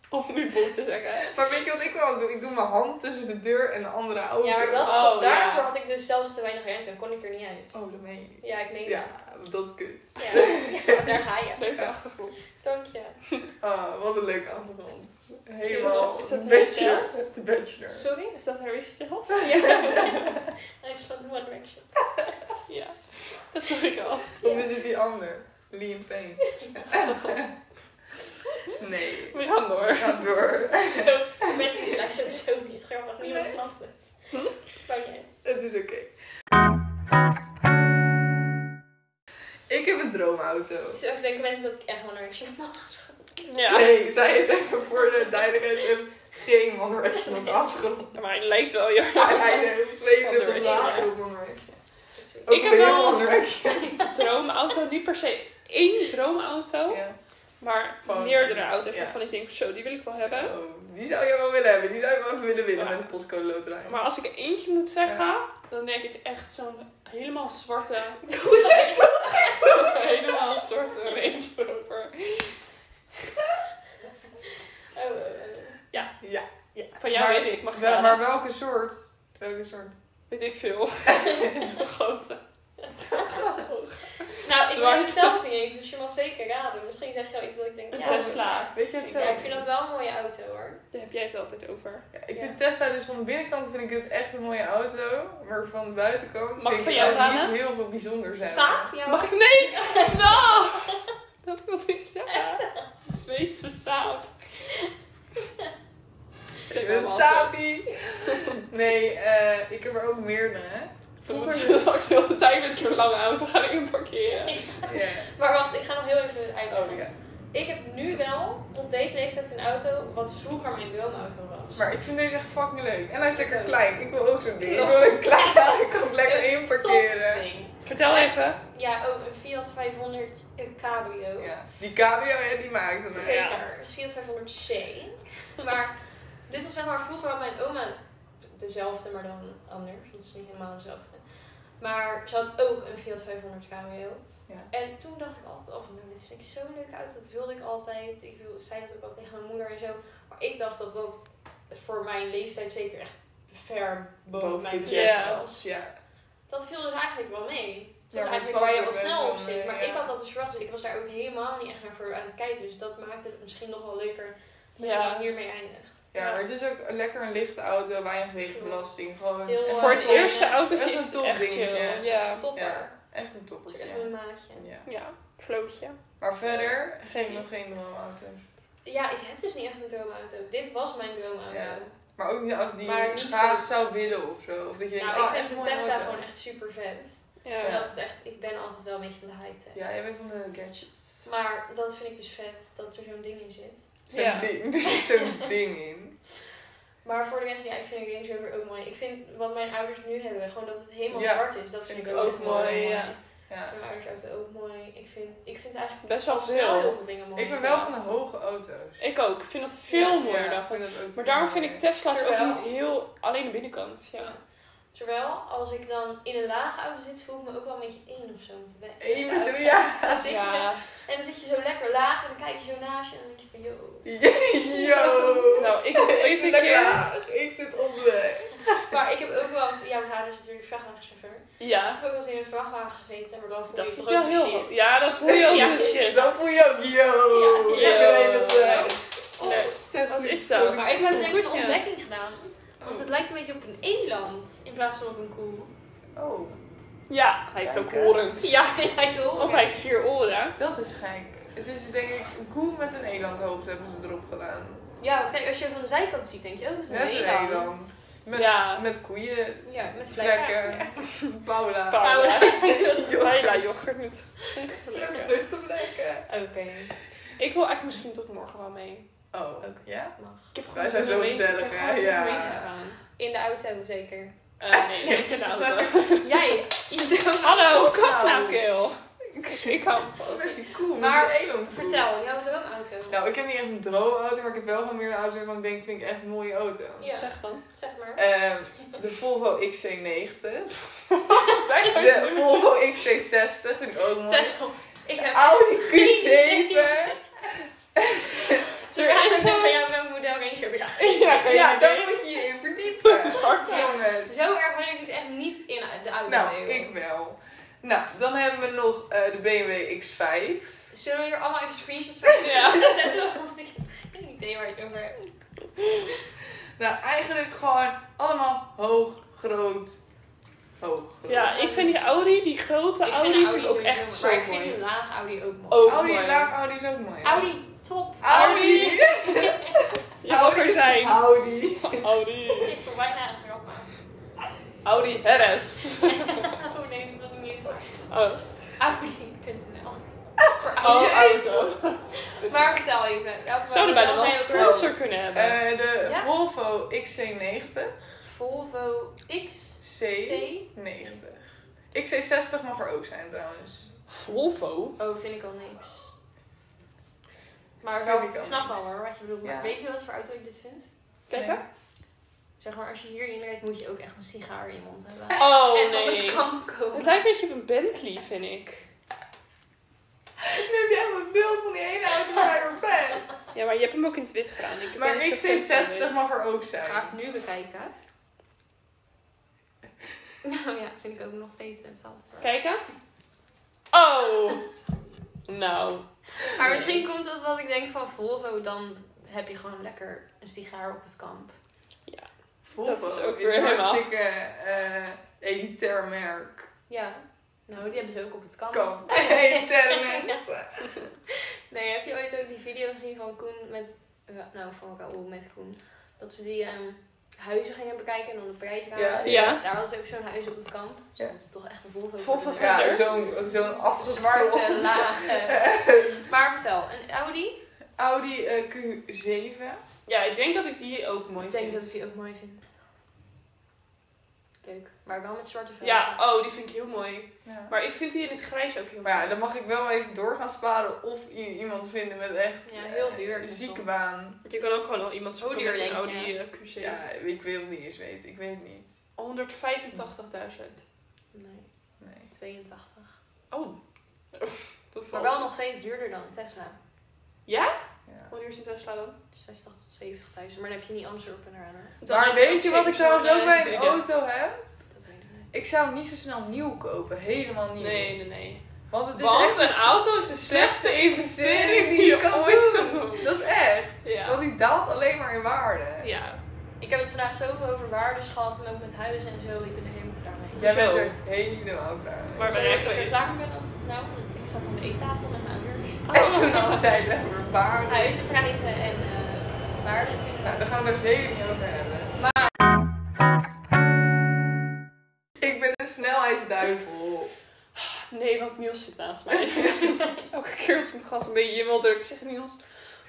Om nu boel te zeggen.
Maar weet je wat ik wel doe? Ik doe mijn hand tussen de deur en de andere auto.
Ja, maar dat,
Oh,
klopt. daarvoor
ja.
had ik dus zelfs te weinig ruimte en kon ik er niet uit.
Oh, dat meen je niet.
Ja, ik meen
Ja,
het.
dat is kut.
Ja. daar ga je.
Leuke achtergrond.
Dank je.
Ah, wat een leuke achtergrond.
dat-
Helemaal
is dat
de bachelor.
Harry Styles?
De bachelor.
Sorry?
Is dat Harry Styles?
Ja. Hij is van One Direction.
Ja, dat dacht ik al.
Of is het die ander? Liam Payne. nee.
We gaan door.
Ga door.
Zo, mensen die luisteren zo niet grappig. Niemand snapt het.
Hm?
Maakt niet uit.
Het is oké. Ik heb een droomauto.
Straks denken mensen dat ik echt One Direction mag.
Ja,
Nee, zij heeft even voor de duidelijkheid heeft geen One Direction op de afgrond.
maar het lijkt wel heel
Hij
erg.
hij heeft twee
One
druppels
Direction,
lager
ja.
op One Direction.
Sorry.
Ik
Ook
heb
weer
wel- Oh,
One Direction.
Een droomauto, niet per se één droomauto,
Ja.
maar
Gewoon-
meerdere auto's
ja.
waarvan ik denk, zo, die wil ik wel hebben.
Zo, die zou jij wel willen hebben. Die zou je wel even willen winnen
Ja.
met de postcode loterij.
Maar als ik er eentje moet zeggen, dan denk ik echt zo'n helemaal zwarte,
Doe jij zo?
helemaal zwarte Range Rover.
Oh, eh,
Ja.
Van jou
Maar-
weet ik, mag ik
Wel,
raden?
maar welke soort? Welke soort?
Weet ik veel. Zo'n grote.
Nou, ik
Zwart.
weet het zelf niet eens, dus je mag zeker raden. Misschien zeg je wel iets dat ik denk,
Een
ja,
Tesla.
Weet je het
Ja,
zelf?
ik vind dat wel een mooie auto hoor.
Daar heb jij het altijd over.
Ja, ik
Ja.
vind Tesla dus van de binnenkant vind ik het echt een mooie auto. Maar van de buitenkant
Mag ik
vind
van
ik
jou
ook
raden?
niet heel veel bijzonder zijn.
Saap? Ja, Oh.
Mag ik? Nee! Nou! Dat wil ik zeggen. Zweedse saap.
Ik ben
wel
Sapi. Nee, eh, ik heb er ook meerdere.
Dan
Vroeger
moeten ze straks heel de tijd met zo'n lange auto gaan inparkeren.
Ja.
Maar wacht, ik ga nog heel even uitleggen.
Oh ja.
Ik heb nu wel op deze leeftijd een auto wat vroeger mijn droomauto was.
Maar ik vind deze echt fucking leuk. En hij is lekker klein. Ik wil ook zo'n ding. Ik wil een klein. Ik kan hem lekker
Top
inparkeren.
ding.
Vertel even.
Ja, ook een Fiat 500 Cabrio.
Ja. Die cabrio, ja, die maakte me.
Zeker, een Fiat 500C. Maar dit was zeg maar vroeger had mijn oma dezelfde, maar dan anders. Dat is niet helemaal dezelfde. Maar ze had ook een Fiat 500 Cabrio.
Ja.
En toen dacht ik altijd af, nou, dit vind ik zo'n leuk auto. Dat wilde ik altijd. Ik wil- zei dat ook al tegen mijn moeder en zo. Maar ik dacht dat dat voor mijn leeftijd zeker echt ver boven,
Boven
mijn
budget
budget was.
Dus ja.
Dat viel dus eigenlijk wel mee. Het was
Ja, maar
eigenlijk
het
waar je
valt ook
wat
best
snel
wel
op zit.
mee,
Maar
ja.
ik had dat dus verwacht. Dus ik was daar ook helemaal niet echt naar voor aan het kijken. Dus dat maakt het misschien nog wel leuker dat je
Ja.
dan hiermee eindigt.
Ja, maar het is ook lekker een lichte auto, weinig wegenbelasting. Gewoon
Heel,
Voor het
eh,
eerste autootje
echt
is
een
het
top
echt
dingetje.
chill. Ja.
Topper.
ja, echt een
Dat is
toppertje.
echt mijn maatje.
Ja.
Ja, flootje.
Maar verder
Eh, Geen.
geen, nog geen droomauto's.
Ja, ik heb dus niet echt een droomauto. Dit was mijn droomauto.
Ja. Maar ook niet als die
Maar
je
niet
graag
voor-
zou willen of zo. Of dat je denkt,
Nou,
ah,
ik
echt een
vind de
mooie
Tesla
auto.
gewoon echt super vet.
Ja.
Omdat het echt, ik ben altijd wel een beetje van de high-tech.
Ja, jij bent van de gadgets.
Maar dat vind ik dus vet, dat er zo'n ding in zit.
Zo'n
Ja.
ding. Er zit zo'n ding in.
Maar voor de mensen, ja, ik vind een Range Rover ook mooi. Ik vind wat mijn ouders nu hebben, gewoon dat het helemaal
Ja.
zwart is, dat vind,
Vind
ik
ik
ook,
ook
mooi.
mooi, ja.
Ik
Ja.
vind mijn ouders auto ook mooi. Ik vind, ik vind eigenlijk
Best wel
al snel heel
veel.
veel dingen mooi.
Ik ben wel van de hoge auto's.
Ik ook. Ik vind dat veel
Ja,
mooier
Ja,
dan
ik vind dat ook
Maar daarom vind ik Tesla's ook
Terwijl-
niet heel... Alleen de binnenkant, ja.
Terwijl, als ik dan in een lage auto zit, voel ik me ook wel een beetje één of zo. Met de weg.
Eén met
Met de
twee,
auto.
ja.
Dan zit je
Ja.
zo- En dan zit je zo lekker laag en dan kijk je zo naast je en dan denk je van, yo.
Yo.
Nou, ik heb
Ik
ooit
zit
een
lekker
keer...
laag. Ik zit op de weg.
Maar ik heb ook wel eens, ja, mijn vader is natuurlijk vrachtwagenchauffeur. Ik
Ja,
heb ook wel eens in een vrachtwagen gezeten, maar dan voel
dat
je
is
toch
wel
ook
heel...
de shit.
Ja, dat voel je ook
Ja.
de shit.
Dan voel je ook, yo.
Ja.
Iedereen
Yo.
dat eh,
Nee.
zet
Wat
die
is dat?
socks.
Oh. Maar ik heb dus even een
Goedje.
ontdekking gedaan.
Oh.
Want het lijkt een beetje op een eland in plaats van op een koe.
Oh,
Ja, hij heeft ook
Kijken.
horens.
Ja, ja, joh.
Of hij heeft vier oren.
dat is gek. Het is denk ik een koe met een elandhoofd hebben ze erop gedaan.
Ja, want kijk, als je van de zijkant ziet, denk je ook dat is een
Net een
eland.
eland. Met,
Ja.
met koeien,
Ja, met vlekken. Oh,
vlekken, Paula.
Pa-
Paula.
Bijna yoghurt met echt lekker.
vlekken.
Oké,
Ik wil eigenlijk misschien tot morgen wel mee.
Oh, ja?
mag.
Ik heb gewoon
Wij zijn
zin
zo
om mee-
gezellig,
Ik heb
hè?
gewoon zin om
Ja.
mee te gaan.
In de auto zeker.
Eh, nee, niet in de auto.
Jij, iedereen.
Hallo,
Nou.
kopnaakkeel. Ik kan.
Met die koe,
Maar
met die eland.
Vertel, jouw droomauto.
Nou, ik heb niet echt een droomauto, maar ik heb wel gewoon meer een auto waarvan ik denk, vind ik echt een mooie auto.
Ja.
Zeg dan.
Zeg maar.
Ehm, de Volvo XC90.
Zeg
De Volvo XC60 vind ik ook mooi.
Tesla. Ik
De
heb
Audi Q7.
Sorry,
Hij
ik vraag
is
net
zo-
van jou welk model Range Rover. Ja.
Ja, geen
Ja, daar
idee.
moet je je in
Het
verdiepen.
is hard.
Ja.
Jongens.
Zo erg ben ik dus echt niet in de auto.
Nou, ik wel. Nou, dan hebben we nog eh, de BMW X5.
Zullen we hier allemaal even screenshots van
Ja.
zetten? Want ik heb geen idee waar je het over hebt.
Nou, eigenlijk gewoon allemaal hoog, groot, hoog, groot.
Ja, ik vind die Audi, die grote
een
Audi, vind ik ook
sowieso
echt
mooi,
zo
Maar ik vind
mooi.
een lage Audi ook mooi.
Ook
Audi,
mooi.
laag Audi is ook mooi. hè?
Audi, top.
Audi!
Je mag er zijn.
Audi.
Audi.
Ik wil bijna een grap maken.
Audi RS.
Oh nee, dat wil ik niet.
Oh,
Audi.nl Voor
oh
Audi.
auto.
Maar vertel even. welke
Zouden bijna wel
model
een
zijn ook
sponsor kunnen hebben.
Eh, de
Ja?
Volvo XC90.
weer? Volvo X.
C90.
C.
XC60 mag er ook zijn trouwens.
Volvo?
Oh, vind ik al niks. Maar
Vind
wel,
ik
ik
al
snap wel
niks.
hoor wat je bedoelt. Maar
Ja.
weet je wat voor auto ik dit vind?
Kijken?
Zeg maar, als je hierin rijdt, moet je ook echt een sigaar in je mond hebben. en
Oh
van
nee.
het kan komen.
Het lijkt een beetje op een Bentley, vind ik.
Nu heb jij een beeld van die hele auto bij haar best.
Ja, maar je hebt hem ook in het wit gedaan. Ik
Maar
ben niet zo fan van
XC60
wit.
mag er ook zijn.
Ga ik nu bekijken. Nou ja, vind ik ook nog steeds interessant.
Kijken? Oh! Nou.
Maar misschien komt het dat ik denk van Volvo, dan heb je gewoon lekker een sigaar op het kamp.
Volvo
Dat is ook
is
weer
een
helemaal.
hartstikke eh, elitair merk.
Ja. Nou, die hebben ze ook op het kamp.
Kan. Elitaire mensen.
Nee, heb je ooit ook die video gezien van Koen met... eh, Nou, van elkaar, oh, met Koen. Dat ze die ehm, huizen gingen bekijken en dan de prijs waren.
Ja.
Ja.
Daar hadden ze ook zo'n huis op het kamp. Dus
Ja.
dat is toch echt een Volvo.
Volvo
Ja.
verder.
Ja, zo'n zo'n
Zwarte,
afgezwarte
lage. maar vertel, een Audi?
Audi eh, Q7.
Ja, ik denk dat ik die ook mooi
Ik denk
vind.
dat ik die ook mooi vind. Leuk. Maar wel met zwarte velgen.
Ja, oh, die vind ik heel mooi.
Ja.
Maar ik vind die in het grijs ook heel
Maar ja,
mooi.
dan mag ik wel even door gaan sparen of i- iemand vinden met echt
Ja, heel
eh,
duur.
dus
een zieke baan.
Want je kan ook gewoon al
Oh,
iemand zoeken
Hoe duur
met een
denk
Audi
je?
eh, Q7.
Ja, ik wil het niet eens weten. Ik weet het niet.
185.000.
Nee,
Nee.
82.
Oh. Dat
Maar
valt.
wel nog steeds duurder dan een Tesla.
Ja.
Wanneer is die Tesla dan?
60 tot 70.000. Maar dan heb je niet anders op en eraan.
Dan
Maar
heb je
weet
ook
je wat ik trouwens ook Oh, bij een
70.000
auto heb?
Dat weet ik niet.
Ik zou hem niet zo snel nieuw kopen. Helemaal nieuw.
Nee, nee, nee.
Want het is
Want
echt
een auto is de slechtste investering die
die je
je
kan
ooit
doen.
kan doen.
Dat is echt. Want
Ja.
die daalt alleen maar in waarde.
Ja.
Ik heb het vandaag zoveel over waardes gehad en ook met huizen en zo. Ik ben er helemaal klaar mee.
Jij bent
Zo.
er helemaal klaar mee.
Maar-
Zodat
ben je
ik er
geweest?
klaar mee ben of- nou, ik zat aan de eettafel met mijn ouders.
En toen al zei ik over waarde.
Huizenprijzen en eh waardes
Nou,
inderdaad.
daar gaan we er zeker niet over hebben. Maar... Ik ben een snelheidsduivel.
Nee, want Niels zit naast mij. Elke keer als ik mijn gas een beetje wil drukken, zegt Niels...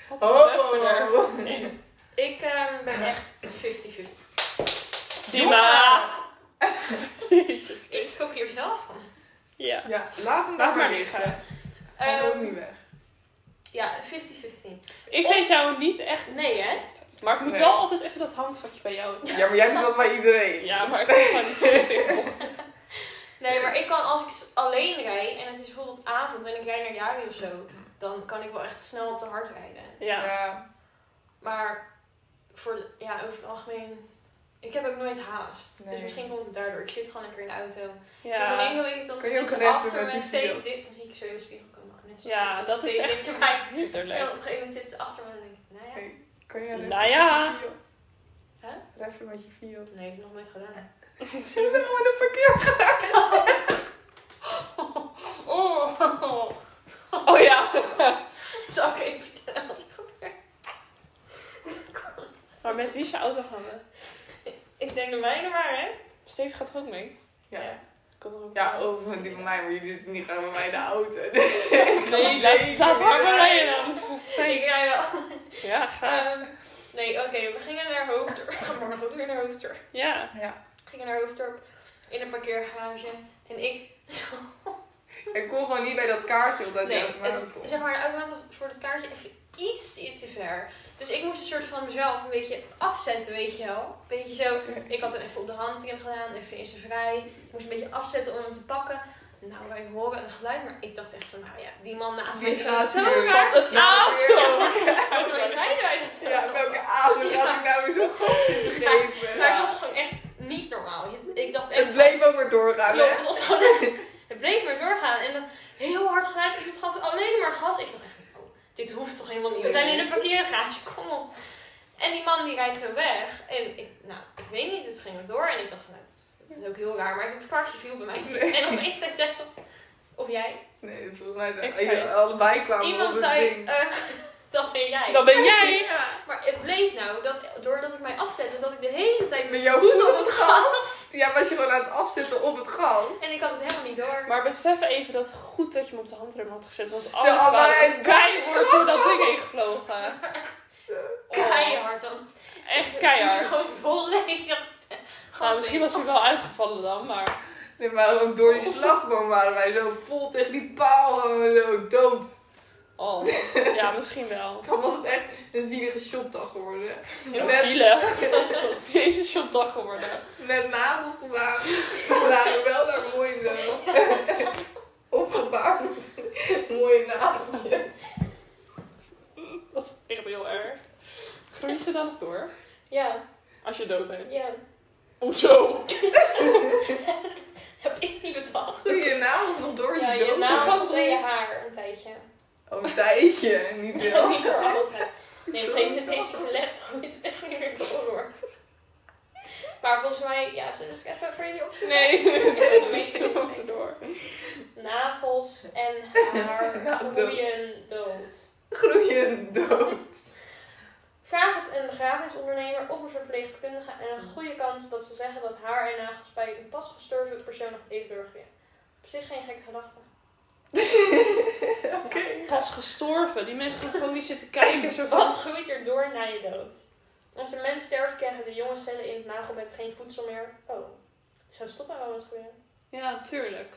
Wat een
Oh.
bedverderf. Nee.
Ik eh, ben echt 50-50.
Dima! Jezus
Ik
Christus.
schok hier zelf van.
Ja.
Ja, laat hem
Laat
daar
maar
maar
liggen.
liggen.
Ehm,
Hij ook niet weg.
ja, 50-50.
Ik vind jou niet echt...
Nee, hè?
Maar ik moet
Nee.
wel altijd even dat handvatje bij jou...
Ja, maar jij doet dat bij iedereen.
Ja, maar ik kan gewoon niet zo goed in bochten.
Nee, maar ik kan als ik s- alleen rijd en het is bijvoorbeeld avond en ik rijd naar Jari of zo, dan kan ik wel echt snel te hard rijden.
Ja.
Ja.
Maar voor, de- ja, over het algemeen, ik heb ook nooit haast. Dus
Nee.
misschien komt het daardoor. Ik zit gewoon lekker in de auto. Ik vind het alleen
Ja.
heel irritant
Kun je
als
ook
mensen
even
achter
met
me
die
steeds
video?
dit, dan zie ik zo in de spiegel komen. Oh, En dan
Ja, dat is
steeds
echt
dit erbij. En op
hinderlijk.
een gegeven moment zitten ze achter me en dan denk ik, nou ja.
Hey, Kan jij reffen
Nou ja.
met je Fiat?
Huh?
Reffen met je Fiat.
Nee, ik heb het nog nooit gedaan.
Zullen we gewoon een parkeergarage
Oh,
Oh ja.
zal ik even vertellen wat er gebeurt?
Maar met wie is je auto gaan we?
Ik denk de mijne maar, hè?
Steve gaat er ook mee.
Ja.
Ik kan er ook
Ja, over die van mij, maar jullie zitten niet graag bij mij in de auto. Nee,
oh, Nee, laat, laat haar maar rijden dan.
Ik rij wel.
Ja, ga.
Ehm, nee, oké, we gingen naar Hoofddorp. We gaan morgen ook weer naar Hoofddorp.
Ja.
Ja.
We gingen naar Hoofddorp in een parkeergarage. En ik...
Ik kon gewoon niet bij dat kaartje, omdat
Nee,
die automaat
het, zeg maar, de automaat was voor het kaartje even iets te ver. Dus ik moest een soort van mezelf een beetje afzetten, weet je wel. Een beetje zo... Ik had hem even op de handrem gedaan, even in zijn vrij. Ik moest een beetje afzetten om hem te pakken. Nou, wij horen een geluid, maar ik dacht echt van, nou ja, die man naast mij
Die
die
gaat
is zo nou
hier.
raar. Ah,
Wat een aashoofd.
Wat zeiden wij dat
Ja,
wel?
welke azen
Ja.
gaat ik nou weer zo'n gast zitten geven?
Maar het was gewoon echt niet normaal. Je- Ik dacht echt...
Het bleef ook maar doorgaan,
Klopt,
hè?
het was gewoon echt... Het bleef maar doorgaan. En dan heel hard gelijk. Ik gaf alleen maar gas. Ik dacht echt, oh, dit hoeft toch helemaal niet. We zijn in een parkeergarage, kom op. En die man die rijdt zo weg. En ik, nou, ik weet niet, het ging maar door. En ik dacht van, nou, het is- het is ook heel raar. Maar het kwartje viel bij mij niet.
Nee.
En opeens zei Tessel, of jij.
Nee, volgens mij zijn
Ik zei-
jullie allebei kwamen op
Iemand
het
zei,
Oh, ding.
eh dat ben jij.
Dan ben jij.
Ja.
Maar het bleef nou, dat, doordat ik mij afzette, zat ik de hele tijd
Met
met
jouw
jou
voet
voet
op het
op het
gas.
gas.
Ja, was je gewoon aan het afzetten op het gas.
En ik had het helemaal niet door.
Maar besef even dat het goed dat je hem op de handrem had gezet. Want
Zo,
anders
maar
waren we
ik-
keihard door dat ding heen gevlogen.
Keihard, want
Echt keihard.
Gewoon vol leeg.
Nou, misschien was hij wel uitgevallen dan, maar...
Nee, maar ook door die slagboom waren wij zo vol tegen die paal en we zo dood.
Oh, ja, misschien wel.
Dan was het echt een zielige shopdag geworden.
Heel
Net-
zielig. Dat was deze shopdag geworden.
Met nagels gedaan. We waren wel daar mooi zo. Opgebouwd. Mooie nageltjes.
Dat is echt heel erg. Groeien ze dan nog door?
Ja,
Als je dood bent.
ja.
Hoezo?
Heb ik niet bedacht.
Doe je nagels nog door als
Ja,
je dood
je
bent?
naald en je haar een tijdje.
Oh, een tijdje. Niet wel.
niet voor altijd. Nee, op een gegeven moment
Zo
is je belet groeit het echt niet meer door. hoor. Maar volgens mij, ja, zullen we het even voor jullie opzoeken?
Nee,
Ja, dat weet
ze
ik
loopt
niet.
erdoor.
Nagels en haar
Ja, dood.
groeien dood.
Groeien dood.
Vraag het een begrafenisondernemer of een verpleegkundige en een goede kans dat ze zeggen dat haar en nagels bij een pas gestorven persoon nog even doorgroeien. Op zich geen gekke gedachte.
Oké.
Pas gestorven. Die mensen gaan gewoon niet zitten kijken. Zo van,
Wat groeit er door na je dood? Als een mens sterft, krijgen de jonge cellen in het nagelbed geen voedsel meer. Oh, zou stoppen wel wat groeien?
Ja, tuurlijk.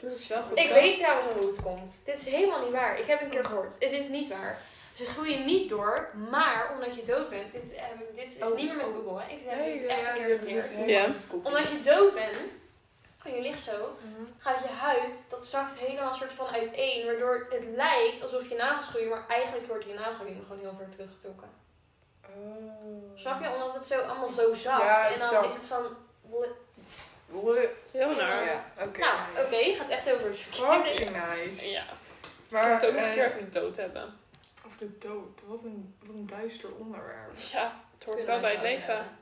Dat is wel goed.
Ik
hè?
weet trouwens al hoe het komt. Dit is helemaal niet waar. Ik heb een keer gehoord. Het is niet waar. Ze groeien niet door, maar omdat je dood bent. Dit, heb ik- dit is
Oh,
niet meer met
oh.
Google, hè? Ik heb
Nee,
dit
ja,
echt
ja,
een
je
keer
hebt het
geleerd.
helemaal
Ja.
goed gekoppeld.
Omdat je dood bent en je ligt zo, gaat je huid, dat zakt helemaal soort van uiteen. Waardoor het lijkt alsof je nagels groeien, maar eigenlijk wordt je nagelriem gewoon heel ver teruggetrokken.
Oh.
Snap je? Omdat het zo allemaal zo zakt.
Ja, het
en dan
zakt.
is het van...
Oeh,
Heel naar. Oh, Ja.
Ja, oké.
nou, oké,
nice.
het gaat echt over het verkeerde.
Fucking nice.
Ik moet
Maar,
het ook nog een
eh,
keer over de dood hebben.
over de dood. Wat een, wat een duister onderwerp.
Ja, het hoort wel bij het leven.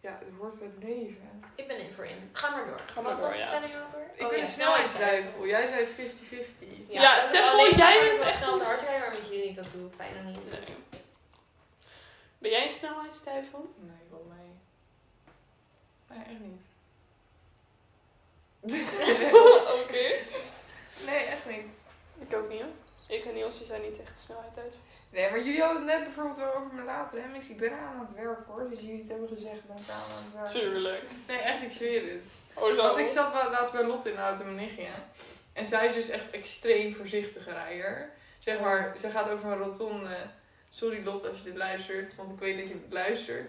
Ja, het hoort bij het leven. Oh
Ik ben in voor in. Ga maar door.
Ga maar
Wat
door,
was de
ja.
stelling Oh, over?
Ik ben een snelheidsduivel. Jij zei 50-50.
Ja, Tessel, jij bent echt
snel te
een-
hard rijden, maar met jullie dat doe ik bijna niet.
Nee. Ben jij een snelheidstijfel?
Nee, wel mij. Nee, echt niet.
Oké.
Nee, echt niet.
Ik ook niet. hoor. Ik en Niels die zijn niet echt snelheid uit.
Nee, maar jullie hadden het net bijvoorbeeld wel over mijn late remmings. Ik ben eraan aan het werk hoor, dus jullie het hebben gezegd, ik ben eraan aan het werk.
Tuurlijk.
Nee, echt, ik zweer het.
Oh, zo.
Want ik zat wel laatst bij Lotte in de auto met mijn nichtje. En zij is dus echt extreem voorzichtige rijder. Zeg maar, ze gaat over een rotonde. Sorry Lotte als je dit luistert, want ik weet dat je het luistert.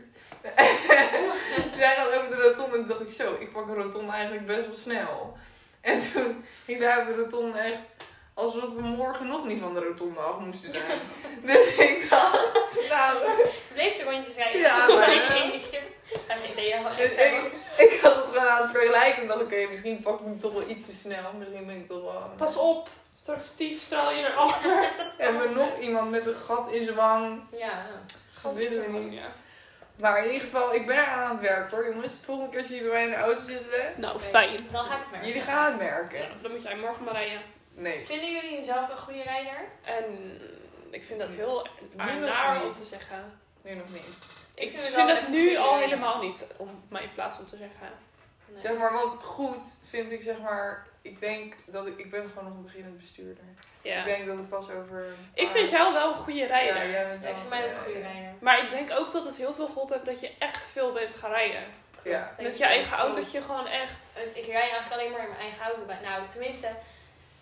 zij gaat over de rotonde en toen dacht ik zo, ik pak een rotonde eigenlijk best wel snel. En toen ging zij over de rotonde echt alsof we morgen nog niet van de rotonde af moesten zijn. dus ik dacht, nou,
Bleef ze rondjes rijden.
Ja, maar-
Ik één keer. Ja, nee, nee, gewoon
Dus
echt zo.
ik had het wel aan het vergelijken en dacht oké, misschien pak ik hem toch wel iets te snel. Misschien ben ik toch wel...
Pas op. Straks stief straal je erachter.
Hebben we nog iemand met een gat in zijn wang?
Ja.
Dat willen we niet.
Ja.
Maar in ieder geval, ik ben eraan aan het werk hoor. Jongens, de volgende keer als jullie bij mij in de auto zitten,
Nou,
Nee.
fijn.
Dan ga ik maar.
jullie gaan het merken.
Ja, dan moet jij morgen maar rijden.
Nee.
Vinden jullie jezelf een goede rijder?
En ik vind dat heel
nog
naar
niet.
om te zeggen.
Nu nog niet.
Ik
vind
vind,
het wel echt
het nu
een
al
goeie.
helemaal niet om mijn plaats om te zeggen.
Nee.
Zeg maar, want goed vind ik zeg maar, ik denk dat ik, ik ben gewoon nog een beginnend bestuurder. Ik
Ja.
denk dat het pas over...
Ik vind jou wel een goede rijder.
Ja, jij bent
Ja, ik
wel-
vind mij ook
ja,
een goede
ja.
rijder.
Maar ik denk ook dat het heel veel geholpen heeft dat je echt veel bent gaan rijden.
Ja.
dat je eigen autootje gewoon echt...
Eh, Ik rij eigenlijk alleen maar in mijn eigen auto bij. Nou, tenminste,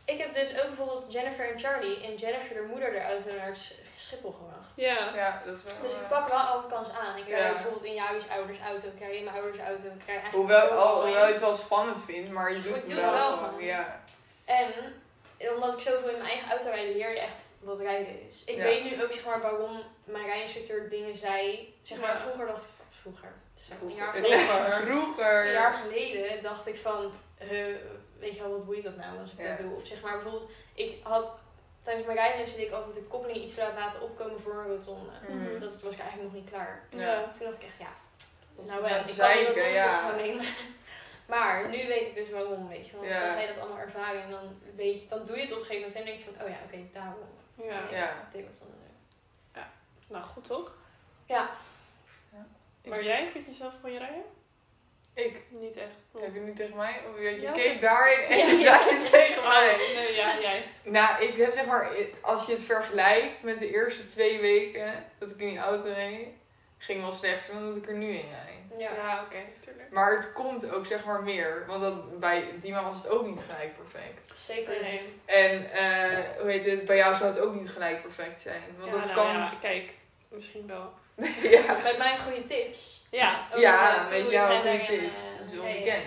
ik heb dus ook bijvoorbeeld Jennifer en Charlie en Jennifer, de moeder, de auto naar het Sch- Schiphol gebracht.
Ja.
Ja, dat is wel...
Dus ik
eh,
pak wel alle kans aan. Ik rij
Ja.
bijvoorbeeld in Javi's ouders auto, ik rij in mijn ouders auto. Ik rij eigenlijk
Hoewel,
overal
al,
in.
hoewel je het wel spannend vindt, maar je doet
Ik
het
doe
wel.
het wel
gewoon,
gewoon.
Ja.
En omdat ik zoveel in mijn eigen auto rijd, leer je echt wat rijden is. Ik
Ja.
weet nu ook zeg maar, waarom mijn rijinstructeur dingen zei. Zeg maar,
Ja.
vroeger dacht ik, vroeger, het is echt een jaar geleden.
Vroeger.
Een jaar
Vroeger.
geleden dacht ik van, eh, weet je wel, wat boeit dat nou als ik
Ja.
dat doe? Of zeg maar bijvoorbeeld, ik had tijdens mijn rijlessen deed ik altijd de koppeling iets te laat laten opkomen voor een rotonde.
Mhm.
Dat was ik eigenlijk nog niet klaar.
Ja.
Toen dacht ik echt, ja,
Dat
nou
is
wel,
net
ik kan die
zeiken,
rotonde
ja.
ja. gewoon nemen. Maar nu weet ik dus waarom, weet je wel.
Ja.
Dus als jij dat allemaal ervaren en dan, weet je, dan doe je het op een gegeven moment en denk je van, oh ja, oké, daarom.
ja.
Ja.
Ik deed wat anders.
Nou, goed toch?
Ja,
Maar jij vindt jezelf een goede rijder?
Ik.
Niet echt. Oh.
Heb je nu tegen mij? Of je, je
Ja,
keek
tegen-
daarin en
Ja,
je
ja.
zei het tegen mij.
Oh, nee, ja, jij.
Nou, ik heb zeg maar, als je het vergelijkt met de eerste twee weken dat ik in die auto reed, ging wel slechter dan dat ik er nu in rijd.
ja.
Ja, oké. tuurlijk.
Maar het komt ook zeg maar meer, want dat, bij Dima was het ook niet gelijk perfect.
zeker
Nee.
niet.
En eh, hoe heet het, bij jou zou het ook niet gelijk perfect zijn. Want
Ja,
dat
nou
kan.
ja, kijk. Misschien wel.
ja.
Met mijn goede tips.
Oh, Ja.
Over,
Ja,
eh,
weet
hoe
je wel,
je
goede
verder,
tips.
eh,
Dat is
rijden.
onbekend.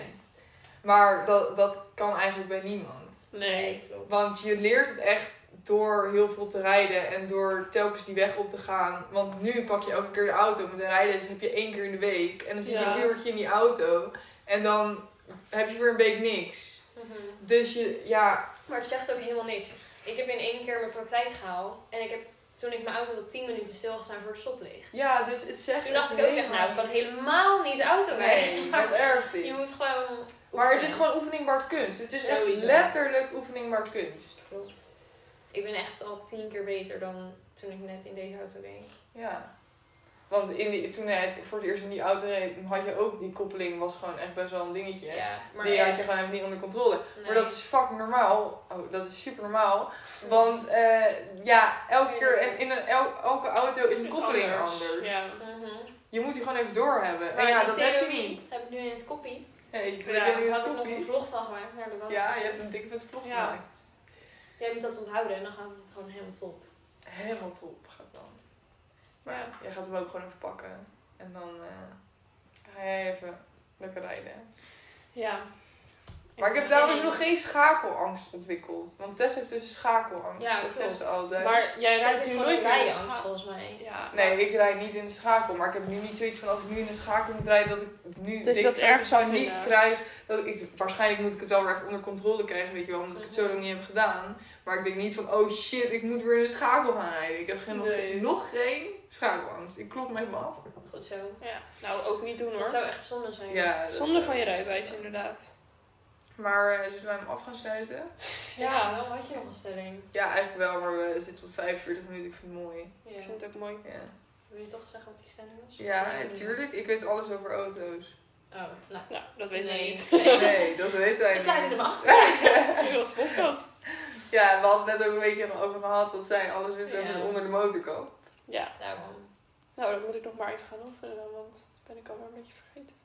Maar dat, dat kan eigenlijk bij niemand.
Nee.
klopt.
Want je leert het echt door heel veel te rijden en door telkens die weg op te gaan. Want nu pak je elke keer de auto met een rijles heb je één keer in de week. En dan zit je
Ja.
een uurtje in die auto. En dan heb je weer een week niks.
Mhm.
Dus je, ja,
Maar het zegt ook helemaal niks. Ik heb in één keer mijn praktijk gehaald. En ik heb toen ik mijn auto wel 10 minuten stilgestaan voor het stoplicht.
ja dus het zegt
Toen dacht ik
echt
ook echt,
helemaal
nou ik kan
niks.
helemaal niet auto
Nee,
rijden.
dat erg
Je
niet.
moet gewoon...
Maar het is
oefenen.
gewoon oefening Bart Kunst. Het is echt
Sowieso.
letterlijk oefening Bart Kunst.
Ik ben echt al tien keer beter dan toen ik net in deze auto ging.
Ja. Want in die, toen hij voor het eerst in die auto reed, had je ook die koppeling, was gewoon echt best wel een dingetje.
Ja, maar
die had
echt,
je gewoon even niet onder controle.
nee.
Maar dat is fucking normaal. Oh, dat is super normaal. Want eh, ja, elke keer en in een, el- elke auto is een koppeling anders.
Ja.
Mhm.
Je moet die gewoon even doorhebben. En
Maar
ja,
in
dat heb je
theorie
niet.
Heb ik nu in het koppie.
Hey, ik
Ja,
heb je nu
Daar
een
had ik nog een
kopie.
vlog van gemaakt naar de wand.
Ja, je hebt een dikke vette vlog
Ja.
gemaakt.
Jij moet dat onthouden en dan gaat het gewoon helemaal top.
Helemaal top gaat dan. Maar
Ja.
jij gaat hem ook gewoon even pakken. En dan eh, ga jij even lekker rijden.
ja.
Maar ik heb
zin
daarom
in.
nog geen schakelangst ontwikkeld. Want Tess heeft dus een schakelangst.
Ja,
dat
klopt.
zegt ze altijd.
Maar jij
Daar
rijdt
is
nu
gewoon een
nooit meer in de
rijangst
scha-
volgens mij.
Ja.
Nee, ik rijd niet in de schakel. Maar ik heb nu niet zoiets van als ik nu in de schakel moet rijden dat ik nu
Dat je dat erg zou
niet
vinden.
krijg. Dat ik, waarschijnlijk moet ik het wel weer even onder controle krijgen, weet je wel, omdat ik het
Mhm.
zo lang niet heb gedaan. Maar ik denk niet van oh shit, ik moet weer in de schakel gaan rijden. Ik heb geen, nog-
Nee.
nog geen schakelangst. Ik klop me even af.
Goed zo.
Ja. Nou, ook niet doen
Dat
hoor.
zou echt zonde zijn.
Ja, dat
Zonde
is-
van je rijbewijs inderdaad.
Maar eh, zullen wij hem af gaan sluiten?
Ja.
Wel had je nog een stelling.
Ja, eigenlijk wel, maar we zitten op 45 minuten. Ik vind het mooi.
Ja.
Ik vind het ook mooi.
Ja,
Wil je toch zeggen wat die stelling was?
ja
Nee,
natuurlijk. Ik weet alles over auto's.
Oh, nou.
Nou, dat weten we
Nee.
niet.
Nee, dat weet
We sluiten
hij
hem
niet.
af.
Dit was podcast.
Ja, we hadden het net ook een beetje over gehad dat zij alles wist over
Ja.
de onder de motorkap.
Ja.
Daarom.
Nou, dat moet ik nog maar even gaan oefenen dan, want dat ben ik alweer een beetje vergeten.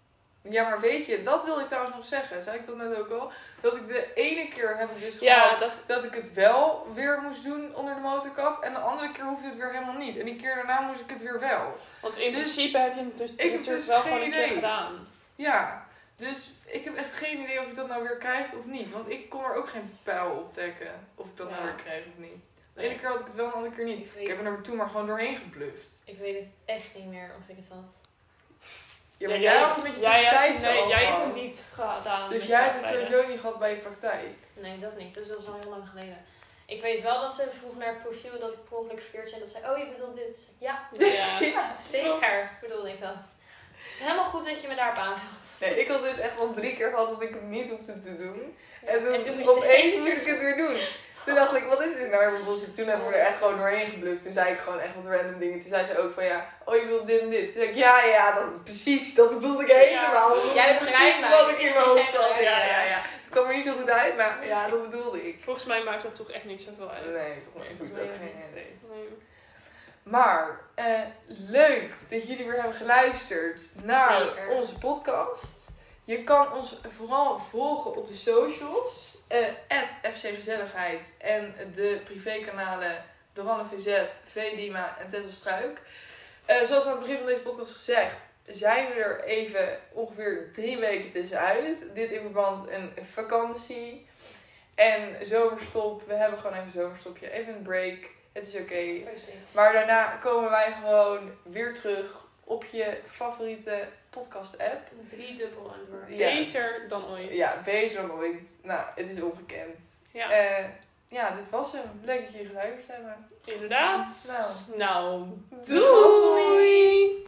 Ja, maar weet je, dat wilde ik trouwens nog zeggen. Zei ik dat net ook al? Dat ik de ene keer heb ik dus
Ja,
gehad
dat...
dat ik het wel weer moest doen onder de motorkap. En de andere keer hoefde het weer helemaal niet. En die keer daarna moest ik het weer wel.
Want in
Dus-
principe heb je het dus,
heb
natuurlijk
dus
wel
geen
gewoon een keer
idee.
gedaan.
Ja, dus ik heb echt geen idee of ik dat nou weer krijg of niet. Want ik kon er ook geen pijl op trekken of ik dat nou
Ja.
weer kreeg of niet. De
Nee.
ene keer had ik het wel, de andere keer niet.
Ik
Ik
weet,
heb er toen maar gewoon doorheen gebluft.
ik weet het echt niet meer of ik het had.
Ja, maar
Ja,
jij had een beetje
jij had-
tijd
Nee,
al
jij
gehad.
hebt het niet gedaan.
Dus
met
jij hebt het
paardrijden.
sowieso niet gehad bij je praktijk.
Nee, dat niet. Dus dat is al heel lang geleden. Ik weet wel dat ze vroeg naar het profiel dat ik per ongeluk verkeerd zei. Dat ze, oh je bedoelt dit. Ja,
Ja.
zeker bedoelde ik dat. Het is helemaal goed dat je me daarop aanvult.
Nee, ik had dus echt wel drie keer gehad dat ik het niet hoefde te doen. En toen,
En toen moest je-
opeens moest ik het weer doen. Toen dacht ik, wat is dit nou weer voor bullshit? Toen hebben we er echt gewoon doorheen gebluft. Toen zei ik gewoon echt wat random dingen. Toen zei ze ook van ja, oh je wilt dit en dit. Toen zei ik, ja ja, dat, precies, dat bedoelde ik helemaal.
Ja.
Dat
Jij
is
begrijpt
precies
mij.
wat ik in mijn hoofd had. Ja,
Ja, ja.
ja, ja. Het kwam er niet zo goed uit, maar ja, dat bedoelde ik.
Volgens mij maakt dat toch echt niet zoveel uit.
Nee, volgens mij heeft het ook
Nee.
geen idee.
Nee.
Maar eh, leuk dat jullie weer hebben geluisterd naar
Zeker.
onze podcast. Je kan ons vooral volgen op de socials. eh FC Gezelligheid en de privékanalen Doranne VZ, V Dima en Tessel Struik. Eh, zoals aan het begin van deze podcast gezegd, zijn we er even ongeveer drie weken tussenuit. Dit in verband een vakantie en zomerstop. We hebben gewoon even een zomerstopje, even een break. Het is oké.
Precies.
Maar daarna komen wij gewoon weer terug op je favoriete podcast-app.
Drie dubbel en door.
Ja.
Beter dan ooit.
Ja, beter dan ooit. Nou, het is ongekend.
Ja,
Eh, ja, dit was hem. Leuk dat jullie geluisterd hebben.
inderdaad. Nou,
Doei!
doei.